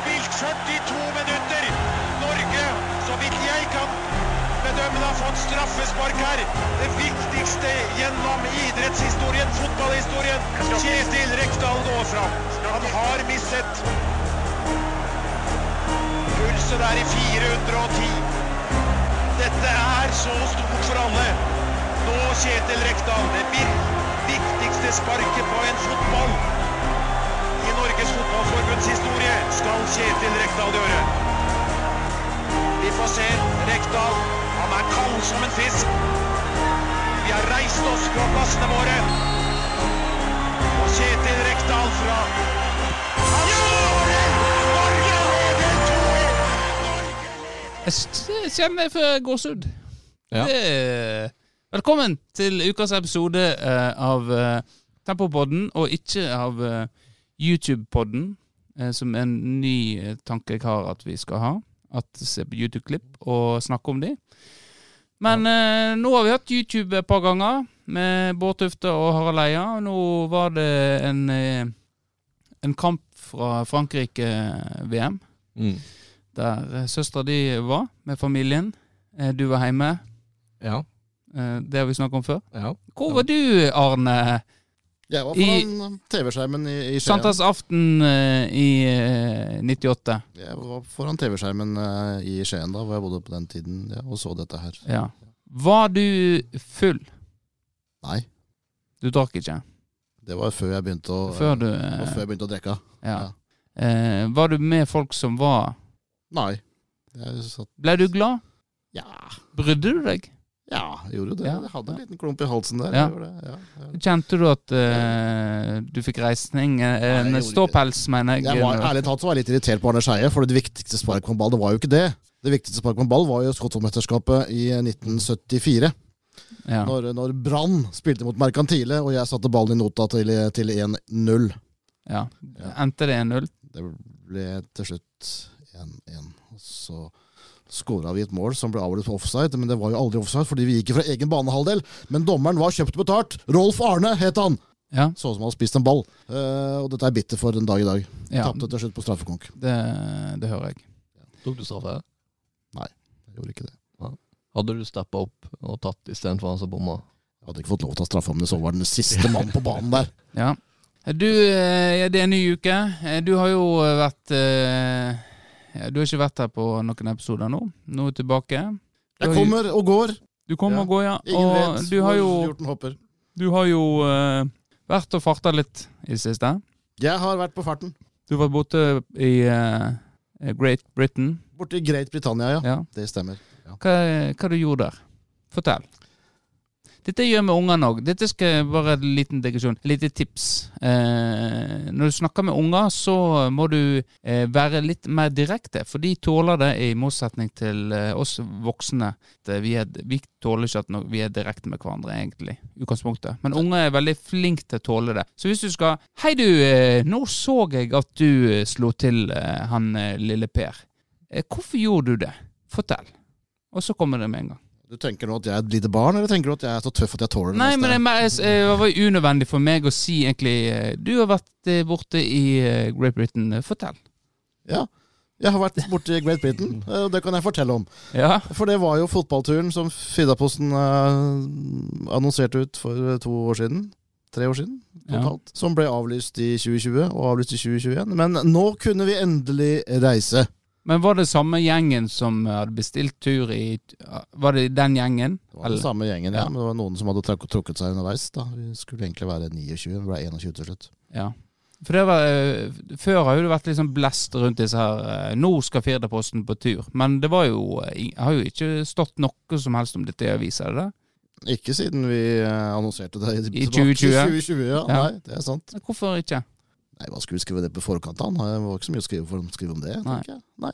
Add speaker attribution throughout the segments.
Speaker 1: 42 minutter. Norge, så vidt jeg kan bedømme, har fått straffespark her. Det viktigste gjennom idrettshistorien, fotballhistorien. Kjetil Rekdal når fram. Han har misset. Pulsen er i 410. Dette er så stort for alle. Nå, Kjetil Rekdal, det vir- viktigste sparket på en fotball i Norges Fotballforbunds historie skal Kjetil Rekdal gjøre. Vi får se Rekdal. Han er kald som en fisk. Vi har reist oss fra plassene våre. Og Kjetil Rekdal fra Han skårer! Norge leder 2-1!
Speaker 2: Jeg s- kjenner jeg får gåsehud.
Speaker 3: Ja.
Speaker 2: Det- Velkommen til ukas episode eh, av eh, Tempopodden, og ikke av eh, YouTube-podden, eh, som er en ny eh, tanke jeg har at vi skal ha. At Se på YouTube-klipp og snakke om de. Men eh, nå har vi hatt YouTube et par ganger, med Bård Tufte og Harald Eia. og Nå var det en, eh, en kamp fra eh, Frankrike-VM
Speaker 3: Mm.
Speaker 2: der eh, søstera di var med familien. Eh, Du var hjemme,
Speaker 3: Ja.
Speaker 2: eh, det har vi snakket om før.
Speaker 3: ja.
Speaker 2: Hvor var du, Arne?
Speaker 4: Jeg var
Speaker 2: I-
Speaker 4: foran TV-skjermen i, i Skien.
Speaker 2: Sankthansaften eh, i eh, 98.
Speaker 4: Jeg var foran TV-skjermen eh, i Skien da, hvor jeg bodde på den tiden, ja, og så dette her.
Speaker 2: Ja. Var du full?
Speaker 4: Nei,
Speaker 2: Du drakk ikke?
Speaker 4: det var før jeg begynte å,
Speaker 2: Før du
Speaker 4: det var
Speaker 2: eh,
Speaker 4: før jeg begynte å drikke.
Speaker 2: ja.
Speaker 4: ja.
Speaker 2: Eh, Var du med folk som var
Speaker 4: Nei. Jeg satt
Speaker 2: Ble du glad?
Speaker 4: Ja,
Speaker 2: Brydde du deg?
Speaker 4: ja jeg gjorde det.
Speaker 2: Ja,
Speaker 4: Jeg hadde
Speaker 2: ja.
Speaker 4: en liten klump i halsen der.
Speaker 2: Ja.
Speaker 4: Jeg gjorde det, ja.
Speaker 2: Kjente du at eh, du fikk reisning? Eh,
Speaker 4: Nei,
Speaker 2: En
Speaker 4: jeg gjorde ikke
Speaker 2: ståpels, mener jeg.
Speaker 4: Jeg var, ærlig talt så var jeg litt irritert på Arne Skeie, for det viktigste sparket på en ball, det var jo ikke det. Det viktigste sparket på en ball var jo Skottvold-mesterskapet i 1974.
Speaker 2: ja.
Speaker 4: Når, når Brann spilte mot Merkantile, og jeg satte ballen i nota til, til 1-0.
Speaker 2: ja. Endte det 1-0?
Speaker 4: Det ble til slutt 1-1. Og så skåra vi et mål som ble avgjort på offside, men det var jo aldri offside fordi vi gikk fra egen banehalvdel. Men dommeren var kjøpt og betalt. Rolf Arne het han!
Speaker 2: Ja.
Speaker 4: Så ut som han hadde spist en ball. Eh, og dette er bitter for en dag i dag.
Speaker 2: ja.
Speaker 4: Tapte til slutt på straffekonk.
Speaker 2: Det, det hører jeg.
Speaker 3: Tok du straffe?
Speaker 4: Jeg gjorde ikke det.
Speaker 3: Hadde du steppa opp og tatt istedenfor han som bomma?
Speaker 4: Jeg hadde ikke fått lov til å ta straffe om det så var den siste mannen på banen der.
Speaker 2: Ja. Du, eh, ja, det er en ny uke. Eh, Du har jo eh, vært eh, ja, Du har ikke vært her på noen episoder nå. Nå er du tilbake. Du
Speaker 4: Jeg
Speaker 2: har jo-
Speaker 4: kommer og går.
Speaker 2: Du kommer
Speaker 3: Ja.
Speaker 2: og går, ja.
Speaker 4: Ingen
Speaker 2: Og
Speaker 4: vet
Speaker 2: du har
Speaker 4: hvor
Speaker 2: jo,
Speaker 4: hjorten hopper.
Speaker 2: du har jo eh, vært og farta litt i det siste.
Speaker 4: Jeg har vært på farten.
Speaker 2: Du var borte i eh, Great Britain.
Speaker 4: Borte i Great Britannia, ja.
Speaker 2: Ja.
Speaker 4: Det stemmer.
Speaker 2: Hva, hva du gjorde der? Fortell. Dette gjør med ungene òg. Dette skal jeg bare en liten digresjon. Et lite tips. Eh, når du snakker med unger, så må du eh, være litt mer direkte. For de tåler det, i motsetning til eh, oss voksne. at Vi, er, vi tåler ikke at no- vi er direkte med hverandre, egentlig. i Utgangspunktet. Men unger er veldig flinke til å tåle det. Så hvis du skal Hei, du, eh, nå så jeg at du eh, slo til eh, han eh, lille Per. Eh, hvorfor gjorde du det? Fortell. Og så kommer det med en gang.
Speaker 4: Du tenker nå at jeg er et lite barn, eller tenker du at jeg er så tøff at jeg tåler det?
Speaker 2: Nei,
Speaker 4: meste?
Speaker 2: men det er mer- jeg, eh, det var jo unødvendig for meg å si egentlig eh, Du har vært eh, borte i eh, Great Britain. Eh, Fortell.
Speaker 4: Jeg har vært borti Great Britain, eh, og det kan jeg fortelle om.
Speaker 2: Ja.
Speaker 4: For det var jo fotballturen som Fridaposten eh, annonserte ut for eh, to år siden. Tre år siden totalt. Som ble avlyst i 2020 og avlyst i 2021. Men nå kunne vi endelig reise.
Speaker 2: Men var det samme gjengen som hadde bestilt tur i eh, Var det den gjengen?
Speaker 4: Det var den
Speaker 2: Eller-
Speaker 4: samme gjengen, ja.
Speaker 2: Ja.
Speaker 4: Men det var noen som hadde trak- trukket seg underveis. da. Vi skulle egentlig være 29, vi ble 21 til slutt.
Speaker 2: Ja. For det var, eh, før har jo det vært litt sånn blest rundt disse her eh, Nå skal Firdaposten på tur. Men det var jo eh, i- har jo ikke stått noe som helst om dette i avisa, er det det?
Speaker 4: Ikke siden vi eh, annonserte det
Speaker 2: I 2020.
Speaker 4: I 2020 ja.
Speaker 2: Ja.
Speaker 4: Nei, det er sant.
Speaker 2: Men Hvorfor ikke?
Speaker 4: Nei, Hva skulle vi skrive det på forkant? da? Det var ikke så mye å skrive, for, skrive om det.
Speaker 2: Nei.
Speaker 4: tenker jeg. Nei.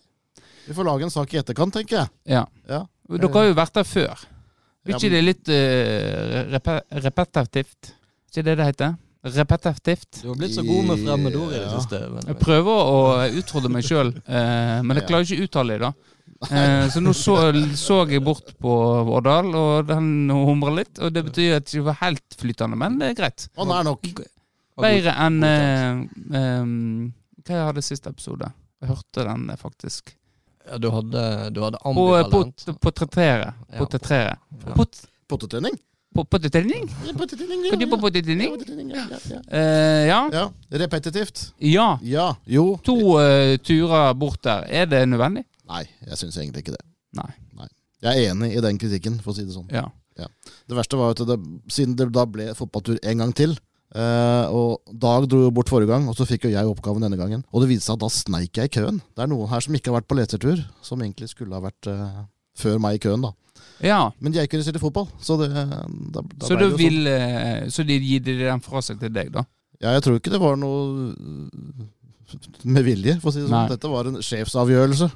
Speaker 4: Vi får lage en sak i etterkant, tenker jeg.
Speaker 2: Ja.
Speaker 4: Ja.
Speaker 2: Dere har jo vært der før. Er
Speaker 4: Ja,
Speaker 2: ikke det litt eh, repe- repetitivt? Er ikke det det heter? Repetitivt?
Speaker 3: Du har blitt så god med fremmedord i det
Speaker 4: Ja.
Speaker 3: siste.
Speaker 2: Jeg
Speaker 3: Men,
Speaker 2: prøver å utfordre meg sjøl, men jeg klarer ikke å uttale det. da. Eh, Så nå så, så jeg bort på Vårdal, og den humrer litt. Og det betyr at det ikke var helt flytende, men det er greit.
Speaker 4: Han er nok.
Speaker 2: Bedre enn eh, eh, Hva jeg hadde sist episode? Jeg hørte den eh, faktisk.
Speaker 3: Ja, du hadde, du hadde
Speaker 2: På, eh,
Speaker 3: ambivalent.
Speaker 2: pot- portrettere.
Speaker 3: Ja,
Speaker 2: Portrettere.
Speaker 3: ja.
Speaker 2: Pot-
Speaker 4: Pottetrening?
Speaker 2: po- Potetrening?
Speaker 4: Pottetrening,
Speaker 2: Kan du på potetrening?
Speaker 4: ja, ja, ja.
Speaker 2: Eh, ja.
Speaker 4: ja. Repetitivt.
Speaker 2: Ja.
Speaker 4: Ja. Jo.
Speaker 2: To eh, turer bort der. Er det nødvendig?
Speaker 4: Nei, jeg syns egentlig ikke det.
Speaker 2: Nei.
Speaker 4: Jeg er enig i den kritikken, for å si det sånn.
Speaker 2: Ja.
Speaker 4: Det verste var jo at det, siden det da ble fotballtur en gang til eh, og Dag dro jo bort forrige gang, og så fikk jo jeg oppgaven denne gangen. Og det viste seg at da sneik jeg i køen. Det er noen her som ikke har vært på letertur, som egentlig skulle ha vært eh, før meg i køen, da.
Speaker 2: ja.
Speaker 4: Men jeg kunne spille fotball, så det eh, da, da
Speaker 2: Så,
Speaker 4: ble det
Speaker 2: du
Speaker 4: jo sånn.
Speaker 2: vil, eh, så de gir de den fra seg til deg, da?
Speaker 4: Ja, jeg tror ikke det var noe øh, med vilje, for å si det sånn.
Speaker 2: Nei.
Speaker 4: Dette var en sjefsavgjørelse.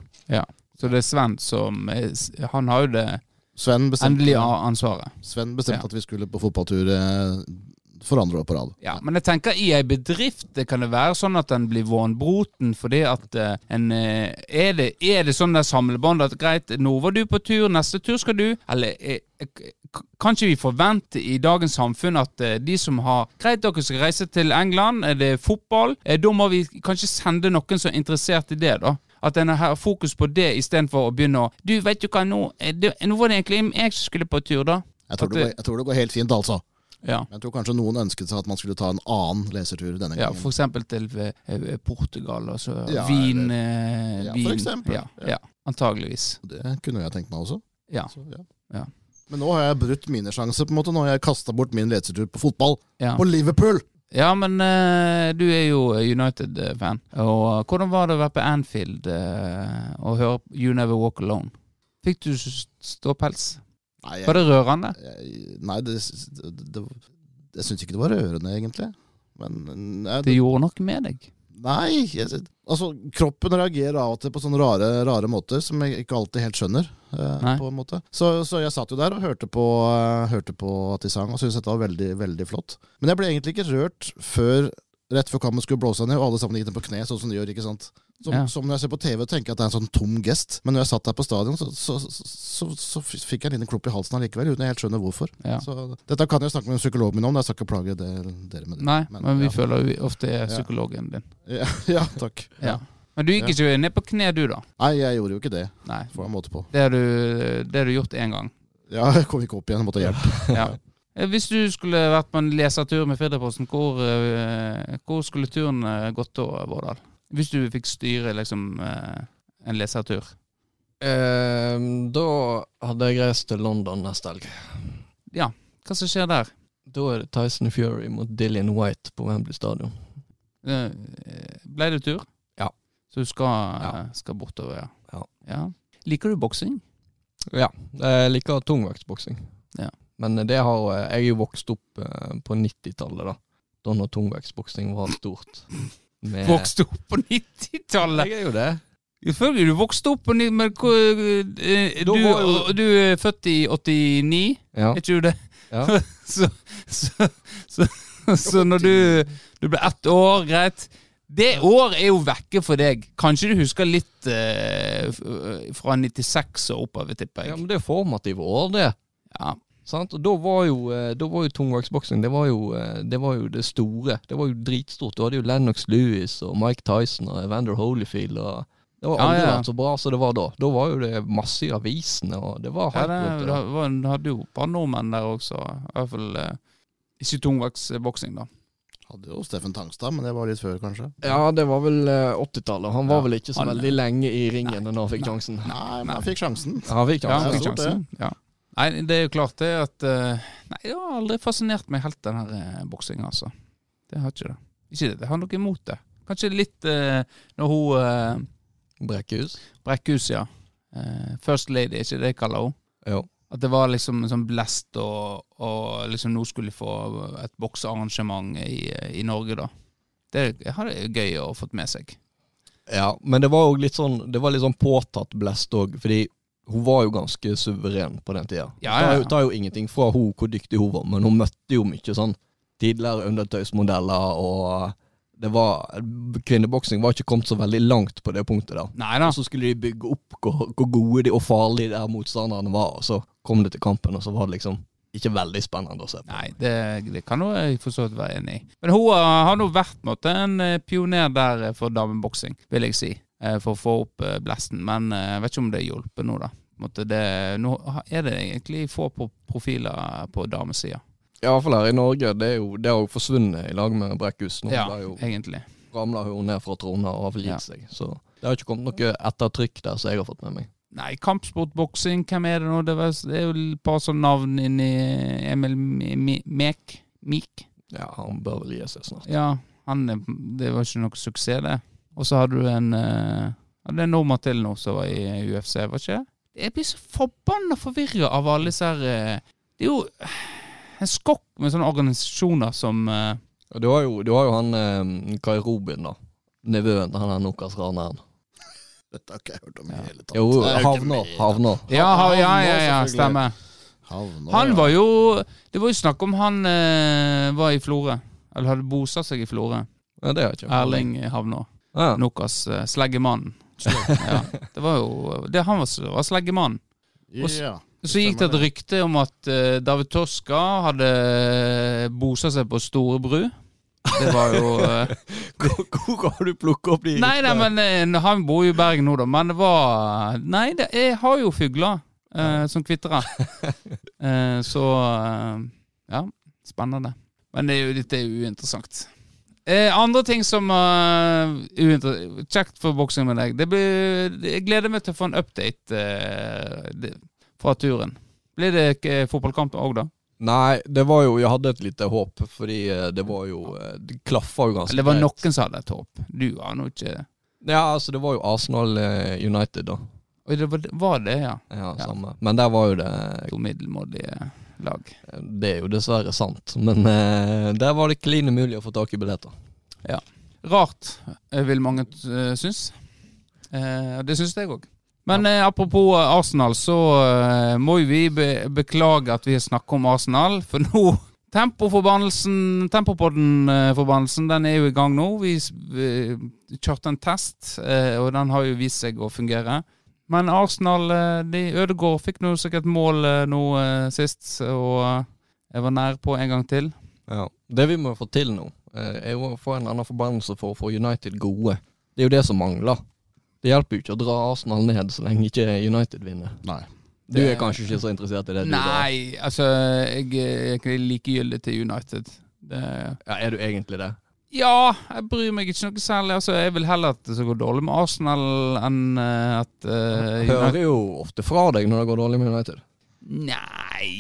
Speaker 2: Så det er Sven som eh, s- Han har jo det
Speaker 4: Sven
Speaker 2: endelige
Speaker 4: bestemte,
Speaker 2: a- ansvaret.
Speaker 4: Sven bestemte
Speaker 2: Ja.
Speaker 4: at vi skulle på fotballtur eh, for andre år på rad.
Speaker 2: Ja, Men jeg tenker i ei bedrift det kan det være sånn at den blir vonbroten fordi at eh, en eh, Er det, er det sånn der samlebånd at greit, nå var du på tur, neste tur skal du? Eller eh, eh, k- kan ikke vi forvente i dagens samfunn at eh, de som har Greit, dere skal reise til England, eh, det er fotball. eh, Da må vi kanskje sende noen som er interessert i det, da. At en har fokus på det istedenfor å begynne å Du, veit du hva, nå, eh, det, nå var det egentlig jeg som skulle på tur, da.
Speaker 4: Jeg tror,
Speaker 2: At
Speaker 4: det,
Speaker 2: det-
Speaker 4: går- jeg tror det går helt fint, altså.
Speaker 2: Ja.
Speaker 4: Men Jeg tror kanskje noen ønsket seg at man skulle ta en annen lesertur denne
Speaker 2: Ja,
Speaker 4: gangen.
Speaker 2: for eksempel til eh, eh, Portugal, altså
Speaker 4: Mm. Ja,
Speaker 2: vin,
Speaker 4: eller-
Speaker 2: eh,
Speaker 4: Ja, for
Speaker 2: vin.
Speaker 4: eksempel.
Speaker 2: Ja, ja, antageligvis.
Speaker 4: Det kunne jeg tenkt meg også.
Speaker 2: Ja.
Speaker 4: Så,
Speaker 2: Ja.
Speaker 4: Men nå har jeg brutt mine sjanser, på en måte. Nå har jeg kasta bort min lesertur på fotball.
Speaker 2: Ja,
Speaker 4: På Liverpool!
Speaker 2: ja men eh, du er jo United-fan. Og eh, hvordan var det å være på Anfield eh, og høre You Never Walk Alone? Fikk du s- ståpels?
Speaker 4: Nei, jeg,
Speaker 2: Var det rørende?
Speaker 4: jeg, nei det, det, det, jeg syns ikke det var rørende, egentlig. Men eh, nei,
Speaker 2: Det gjorde noe med deg.
Speaker 4: Nei jeg, Altså, kroppen reagerer av og til på sånne rare, rare måter som jeg ikke alltid helt skjønner. Eh,
Speaker 2: Nei.
Speaker 4: på en måte så, så jeg satt jo der og hørte på, eh, hørte på at de sang, og syntes dette var veldig veldig flott. Men jeg ble egentlig ikke rørt før rett før kammen skulle blåse ned, og alle sammen gikk ned på kne, sånn som de gjør. ikke sant? Som,
Speaker 2: Ja.
Speaker 4: som når jeg ser på TV og tenker at det er en sånn tom gest. Men når jeg satt der på stadion, så, så, så, så, så fikk jeg en liten klump i halsen allikevel, uten jeg helt skjønner hvorfor.
Speaker 2: Ja.
Speaker 4: Så dette kan jeg snakke med psykologen min om, jeg skal ikke plage det, dere med det.
Speaker 2: Nei,
Speaker 4: men-
Speaker 2: men vi
Speaker 4: ja.
Speaker 2: føler jo ofte er
Speaker 4: Ja.
Speaker 2: psykologen din.
Speaker 4: Ja, ja takk.
Speaker 2: Ja. Men du gikk ikke ned på kne, du, da?
Speaker 4: Nei, jeg gjorde jo ikke det.
Speaker 2: Nei.
Speaker 4: Får jeg en måte på.
Speaker 2: Det har du, det har du gjort én gang.
Speaker 4: Ja, jeg kom ikke opp igjen, jeg måtte ha hjelp.
Speaker 2: Ja. Eh, Hvis du skulle vært på en lesertur med Fedreposten, hvor, eh, hvor skulle turen eh, gått da, Vårdal? Hvis du fikk styre liksom eh, en lesertur?
Speaker 3: Eh, da hadde jeg reist til London neste helg.
Speaker 2: Hva som skjer der?
Speaker 3: Da er det Tyson Fury mot Dillian White på Wembley stadion.
Speaker 2: Eh, Ble det tur?
Speaker 3: Ja.
Speaker 2: Så du skal,
Speaker 3: Ja.
Speaker 2: eh, skal bortover, ja.
Speaker 3: Ja.
Speaker 2: Liker du boksing?
Speaker 3: Ja. Jeg liker tungvektsboksing.
Speaker 2: Ja.
Speaker 3: Men det har Jeg er jo vokst opp eh, på 90-tallet, da. Da når tungvektsboksing var stort. Med-
Speaker 2: Vokste opp på 90-tallet!
Speaker 3: Jeg er jo det.
Speaker 2: Selvfølgelig, du vokste opp på ni- Men hvor- eh,
Speaker 3: Da
Speaker 2: du,
Speaker 3: var jo-
Speaker 2: du er født i 89?
Speaker 3: Ja.
Speaker 2: Er ikke du det?
Speaker 3: Ja.
Speaker 2: så, så, så, så når du, du ble ett år, greit. Det år er jo vekke for deg. Kanskje du husker litt eh, f- fra 96 og oppover, tipper
Speaker 3: ja,
Speaker 2: jeg.
Speaker 3: men det er formative år, det.
Speaker 2: Ja.
Speaker 3: Sant? Og da var jo, eh, da var jo tungvektsboksing det, var jo, eh, det var jo det store. Det var jo dritstort. Du hadde jo Lennox Lewis og Mike Tyson og Evander Holyfield og Det var
Speaker 2: Ja,
Speaker 3: aldri
Speaker 2: ja.
Speaker 3: vært så bra som det var da. Da var jo det masse i avisene, og det var
Speaker 2: Ja,
Speaker 3: hype
Speaker 2: det,
Speaker 3: rundt det.
Speaker 2: det, var, det hadde jo bare nordmenn der også. I hvert fall eh, ikke tungvektsboksing, da.
Speaker 4: Hadde jo Steffen Tangstad, men det var litt før, kanskje.
Speaker 3: Ja, det var vel eh, 80-tallet. Han
Speaker 2: Ja.
Speaker 3: var vel ikke så
Speaker 2: Han-
Speaker 3: veldig lenge i ringen da han fikk sjansen.
Speaker 4: Nei, men han fikk sjansen.
Speaker 3: Ja, han fikk
Speaker 2: Ja,
Speaker 4: det
Speaker 2: han
Speaker 4: er
Speaker 3: sjansen.
Speaker 2: fikk
Speaker 4: stort,
Speaker 2: sjansen. Ja. Nei, det er jo klart det at eh, Nei, det har aldri fascinert meg helt, den her boksinga, altså. Det har ikke det. Ikke det, det har noe imot det. Kanskje litt eh, når hun eh,
Speaker 3: Brekkhus.
Speaker 2: Brekkhus, ja. Eh, First Lady, er ikke det jeg kaller henne?
Speaker 3: Jo.
Speaker 2: At det var liksom en sånn blest, og, og liksom nå skulle jeg få et boksearrangement i, i Norge, da. Det hadde vært gøy å fått med seg.
Speaker 3: Ja, men det var jo litt sånn Det var litt sånn påtatt blest òg, fordi hun var jo ganske suveren på den tida.
Speaker 2: Ja, ja, ja.
Speaker 3: Det tar jo ingenting fra hun hvor dyktig hun var, men hun møtte jo mye sånn tidligere undertøysmodeller, og det var Kvinneboksing var ikke kommet så veldig langt på det punktet der.
Speaker 2: Nei da.
Speaker 3: Og så skulle de bygge opp hvor, hvor gode de og farlige de her motstanderne var, og så kom det til kampen, og så var det liksom ikke veldig spennende å se på.
Speaker 2: Nei, det, det kan jo jeg for så vidt være enig i. Men hun eh, har nå vært på en måte, en eh, pioner der eh, for dameboksing, vil jeg si. eh, for å få opp eh, blesten, men eh, jeg vet ikke om det hjelper nå, da. På en måte Det, nå ha- er det egentlig få pro- profiler på damesida,
Speaker 3: I hvert fall her i Norge. Det er jo, det har jo forsvunnet i lag med Brekkhus. Nå
Speaker 2: ja,
Speaker 3: ble jo,
Speaker 2: egentlig.
Speaker 3: ramla hun ned fra trona og avlitt
Speaker 2: Ja.
Speaker 3: seg. Så det har ikke kommet noe ettertrykk der som jeg har fått med meg.
Speaker 2: Nei, kampsport, boksing, hvem er det nå? Det er vel- det er jo et par sånne navn inni Emil Mi- Mi- Mek. Mik.
Speaker 3: Ja, han bør vel gi seg snart.
Speaker 2: Ja, han, er- det var ikke noe suksess, det. Og så hadde du en eh, ja, Det er en nordmann til nå som var i UFC, var ikke det? Jeg blir så forbanna forvirra av alle disse her eh, Det er jo eh, en skokk med sånne organisasjoner som eh,
Speaker 3: Og du har jo, du har jo han eh, Kai Robin, da. Nevøen til han her Nokas-raneren.
Speaker 4: Dette har ikke jeg hørt om i
Speaker 2: Ja.
Speaker 4: hele tatt.
Speaker 3: Jo,
Speaker 4: Det er jo ikke
Speaker 3: havner.
Speaker 4: med.
Speaker 3: havner.
Speaker 2: ja, ha, ja,
Speaker 4: han
Speaker 2: ja,
Speaker 4: var
Speaker 2: ja,
Speaker 4: selvfølgelig-
Speaker 2: stemmer.
Speaker 4: Havner,
Speaker 2: Han
Speaker 4: ja.
Speaker 2: var jo Det var jo snakk om han eh, var i Florø. Eller hadde bosatt seg i Florø.
Speaker 3: Ja, det har jeg ikke.
Speaker 2: Erling Havnå.
Speaker 3: Ja.
Speaker 2: Nokas eh, sleggemannen. Ja, det var jo det, Han var, var sleggemannen.
Speaker 4: ja.
Speaker 2: Så gikk det et rykte om at eh, David Toska hadde eh, bosatt seg på Storebru. Det var jo eh,
Speaker 3: Hvor, hvor har du plukket opp de
Speaker 2: Nei, nei, men eh, han bor jo i Bergen nå, da. Men det var Nei, det, jeg har jo fugler eh, som kvitrer. Eh, så eh, Ja, spennende. Men det er jo, dette er jo uinteressant. Eh, andre ting som eh, uinter- Kjekt for boksing med deg. Det blir, jeg gleder meg til å få en update eh, det- fra turen. Blir det ikke fotballkamp òg, da?
Speaker 3: Nei, det var jo Jeg hadde et lite håp, fordi eh, det var jo eh, Det klaffa jo ganske
Speaker 2: Eller Altså, det var
Speaker 3: greit.
Speaker 2: noen som hadde et håp. Du har nå ikke
Speaker 3: Ja, altså, det var jo Arsenal eh, United, da.
Speaker 2: Oi, det var, var det, ja.
Speaker 3: Ja,
Speaker 2: Ja.
Speaker 3: samme. Men der var jo det
Speaker 2: To middelmådige lag.
Speaker 3: Det er jo dessverre sant, men eh, der var det klin umulig å få tak i billetter.
Speaker 2: Rart, eh, vil mange eh, synes. Eh, det synes jeg òg. Men eh, apropos eh, Arsenal, så eh, må jo vi be beklage at vi har snakket om Arsenal, for nå Tempoforbannelsen, Tempopodden-forbannelsen, den er jo i gang nå. Vi s- eh, kjørte en test, eh, og den har jo vist seg å fungere. Men Arsenal, eh, de Ødegaard fikk nå sikkert mål eh, nå eh, sist, og eh, jeg var nær på en gang til.
Speaker 3: Ja. Det vi må få til nå, eh, er jo å få en annen forbannelse for å få United gode. Det er jo det som mangler. Det hjelper jo ikke å dra Arsenal ned så lenge ikke United vinner.
Speaker 4: Nei.
Speaker 3: Du er kanskje ikke så interessert i det? Du,
Speaker 2: Nei, altså jeg, er ikke likegyldig til United. Det,
Speaker 3: da? ja, er du egentlig det?
Speaker 2: ja, jeg bryr meg ikke noe særlig. Altså, jeg vil heller at det skal gå dårlig med Arsenal enn eh, at eh,
Speaker 3: Jeg
Speaker 2: United
Speaker 3: hører jo ofte fra deg når det går dårlig med United.
Speaker 2: Nei,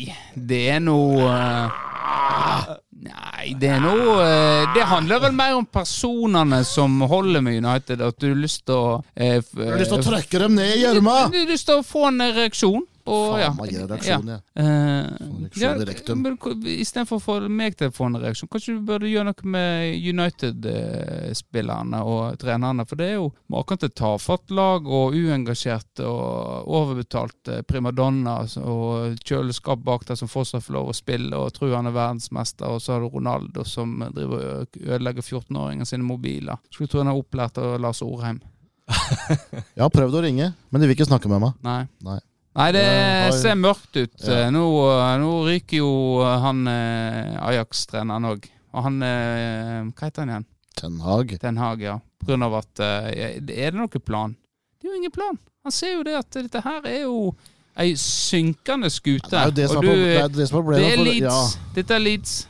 Speaker 2: det er noe eh, Nei, det er noe eh, Det handler vel mer om personene som holder med United, at du har lyst til å eh, f-
Speaker 4: Jeg har lyst til å trekke dem ned i gjørma!
Speaker 2: Du har lyst til å få en reaksjon. Og,
Speaker 4: Faen,
Speaker 2: ja.
Speaker 4: jeg gir
Speaker 2: Ja.
Speaker 4: reaksjon, jeg.
Speaker 2: Eh,
Speaker 4: reaksjon i rektum.
Speaker 2: men ko- Istedenfor å få meg til å få en reaksjon, kanskje du burde gjøre noe med United-spillerne og trenerne. For det er jo maken til tafatt lag og uengasjerte og overbetalte primadonnaer og kjøleskap bak der som fortsatt får lov å spille og tror han er verdensmester, og så har du Ronaldo som driver og ødelegger 14-åringer sine mobiler. Skulle tro han er opplært av Lars Orheim.
Speaker 4: Jeg har prøvd å ringe, men de vil ikke snakke med meg.
Speaker 2: Nei.
Speaker 4: Nei.
Speaker 2: det
Speaker 4: Det har-
Speaker 2: ser mørkt ut. Eh,
Speaker 4: Ja.
Speaker 2: Nå, nå ryker jo han eh, Ajax-treneren òg. Og han eh, Hva heter han igjen?
Speaker 4: Ten Hag.
Speaker 2: Ten Hag, ja. På grunn av at eh, Er det noen plan? Det er jo ingen plan. Han ser jo det at dette her er jo ei synkende skute.
Speaker 4: Det er jo det som
Speaker 2: og
Speaker 4: er, på,
Speaker 2: du- eh,
Speaker 4: det er det som er
Speaker 2: det
Speaker 4: problemet.
Speaker 2: er
Speaker 4: for-
Speaker 2: Leeds.
Speaker 4: Ja.
Speaker 2: Dette er Leeds.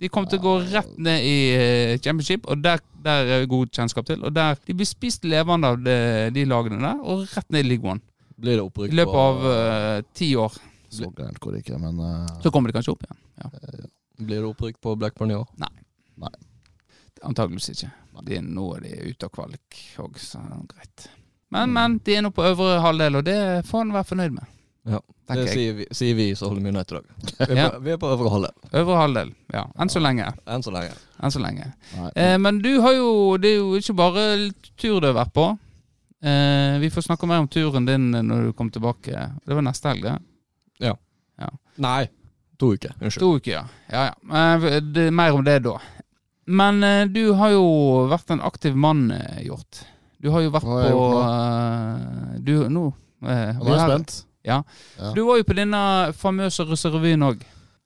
Speaker 2: De kommer til å gå rett ned i eh, championship, og der, der er det god kjennskap til. Og der, De blir spist levende av de, de lagene der, og rett ned i league one.
Speaker 3: Blir det opprykk
Speaker 2: I løpet av eh, ti år
Speaker 4: Så gærent går det ikke, men eh,
Speaker 2: så kommer de kanskje opp igjen.
Speaker 3: Blir det opprykk på Blackburn i år?
Speaker 2: Antageligvis ikke. De, er- nå er de ute av kvalik òg, så det er greit. Men, men, de er nå på øvre halvdel, og det får en være fornøyd med.
Speaker 3: Ja, Det
Speaker 2: tenker jeg.
Speaker 3: sier vi, sier vi som holder med United i dag. Vi er
Speaker 2: Ja.
Speaker 3: på- Vi er på øvre halvdel
Speaker 2: Øvre halvdel, ja. Enn så lenge.
Speaker 3: enn så lenge.
Speaker 2: Enn så lenge.
Speaker 4: nei.
Speaker 2: Eh, men du har jo Det er jo ikke bare tur du har vært på. Eh, vi får snakke mer om turen din når du kommer tilbake. Det var neste helg, det.
Speaker 3: Nei, to uker. Unnskyld.
Speaker 2: To uker, ja. ja, ja. Eh, det, mer om det da. Men eh, du har jo vært en aktiv mann, eh, Hjort. Du har jo vært
Speaker 4: Hva har jeg
Speaker 2: på
Speaker 4: gjort
Speaker 2: eh, Du, nå eh,
Speaker 4: Og
Speaker 2: vi
Speaker 4: Nå er jeg
Speaker 2: har-
Speaker 4: spent. Ja.
Speaker 2: Du var jo på denne famøse russerevyen òg,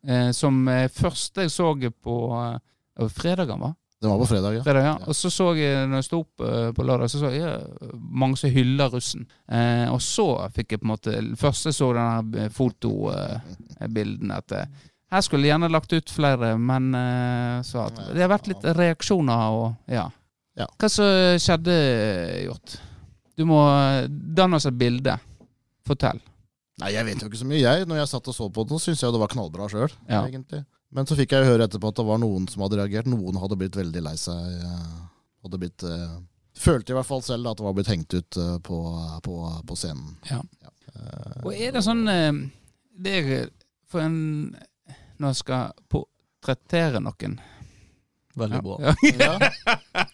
Speaker 2: eh, som eh, først jeg så på eh, det var fredagen, va?
Speaker 4: Den var på fredag, ja.
Speaker 2: Det er det, ja. Og så så jeg, når jeg sto opp eh, på lørdag, så så jeg eh, mange som hyller russen. Eh, og så fikk jeg på en måte Først jeg så eh, denne fotobilden at eh, her skulle jeg gjerne lagt ut flere, men eh, så at det har vært litt reaksjoner og ja.
Speaker 4: Ja.
Speaker 2: Hva som skjedde, Hjort? Du må danne oss et bilde. Fortell.
Speaker 4: Nei, jeg vet jo ikke så mye, jeg. Når jeg satt og så på den, syntes jeg det var knallbra sjøl,
Speaker 2: Ja.
Speaker 4: egentlig. Men så fikk jeg jo høre etterpå at det var noen som hadde reagert. Noen hadde blitt veldig lei seg. eh, Hadde blitt eh, Følte i hvert fall selv da, at det var blitt hengt ut eh, på, på, på scenen.
Speaker 2: Ja.
Speaker 4: Eh,
Speaker 2: Og er det sånn eh, Det er for en Når jeg skal portrettere noen
Speaker 3: Veldig bra.
Speaker 2: Ja.
Speaker 4: ja.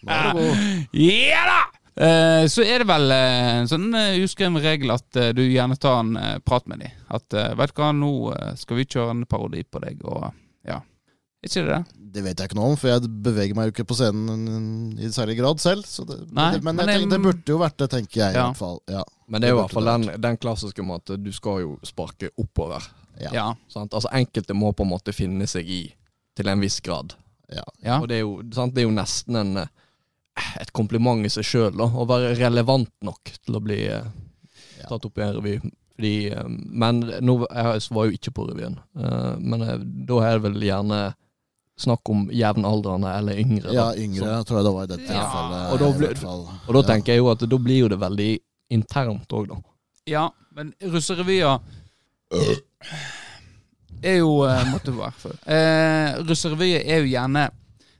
Speaker 4: Da er det god.
Speaker 2: Ja da! Eh, så er det vel eh, en sånn eh, uskreven regel at eh, du gjerne tar en eh, prat med dem. At eh, 'vet du hva, nå eh, skal vi kjøre en parodi på deg', og ja. Er ikke det det?
Speaker 4: Det vet jeg ikke noe om, for jeg beveger meg jo ikke på scenen i særlig grad selv. Så det,
Speaker 2: Nei,
Speaker 4: det, men
Speaker 2: men
Speaker 4: jeg
Speaker 2: det-
Speaker 4: tenker, det burde jo vært det, tenker jeg.
Speaker 2: Ja.
Speaker 4: i hvert fall. Ja.
Speaker 3: Men det er jo i hvert fall den, den klassiske med at du skal jo sparke oppover.
Speaker 4: Ja.
Speaker 2: Ja.
Speaker 3: Sant? Altså Enkelte må på en måte finne seg i til en viss grad.
Speaker 4: Ja.
Speaker 2: Ja.
Speaker 3: Og det er jo, sant? Det er jo nesten en, eh, et kompliment i seg sjøl å være relevant nok til å bli eh,
Speaker 4: Ja.
Speaker 3: tatt opp i en revy. Fordi, eh, men nå jeg var jo ikke på revyen, eh, men eh, da er det vel gjerne snakk om jevnaldrende eller yngre. da.
Speaker 4: ja, yngre tror jeg det var i dette
Speaker 2: Ja.
Speaker 4: tilfellet.
Speaker 3: Og da
Speaker 4: i
Speaker 3: ble-
Speaker 4: hvert fall.
Speaker 3: Så, og da
Speaker 4: Ja.
Speaker 3: tenker jeg jo at da blir jo det veldig internt òg, da.
Speaker 2: ja. Men russerevyer eh, er jo eh, Måtte være for eh, Russerevyer er jo gjerne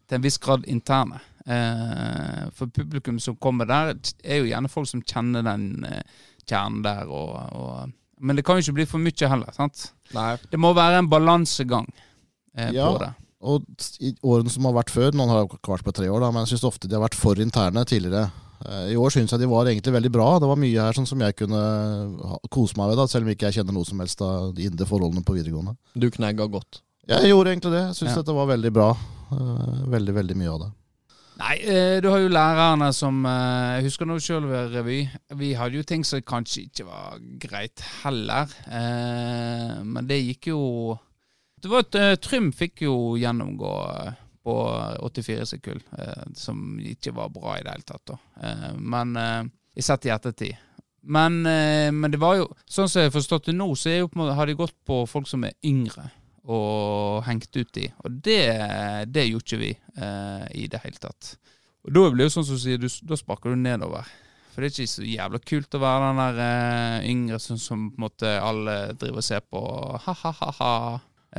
Speaker 2: til en viss grad interne. Eh, for publikum som kommer der, t- er jo gjerne folk som kjenner den eh, kjernen der. Og, og, men det kan jo ikke bli for mye heller. sant?
Speaker 3: Nei.
Speaker 2: Det må være en balansegang eh,
Speaker 4: Ja.
Speaker 2: på det.
Speaker 4: Og t- i årene som har vært før, noen har jo ikke vært på tre år, da, men jeg syns ofte de har vært for interne tidligere. Eh, I år syns jeg de var egentlig veldig bra. Det var mye her sånn som jeg kunne ha- kose meg ved, da, selv om ikke jeg kjenner noe som helst av de indre forholdene på videregående.
Speaker 3: Du knegger godt.
Speaker 4: Jeg gjorde egentlig det. Jeg syns
Speaker 2: Ja.
Speaker 4: dette var veldig bra. Eh, Veldig, veldig mye av det.
Speaker 2: Nei, eh, du har jo lærerne som eh, Jeg husker nå sjøl ved revy. Vi hadde jo ting som kanskje ikke var greit heller. Eh, men det gikk jo Det var et eh, Trym fikk jo gjennomgå eh, på 84 sekull, eh, som ikke var bra i det hele tatt. Da. Eh, men eh, jeg sett i ettertid. Men, eh, men det var jo Sånn som jeg har forstått det nå, så er jo på en måte, har de gått på folk som er yngre. og hengt ut i. Og det, det gjorde ikke vi eh, i det hele tatt. Og da blir det jo sånn som du sier, du, da sparker du nedover. For det er ikke så jævla kult å være den der eh, yngre som, som på en måte alle driver og ser på. Ha-ha-ha-ha.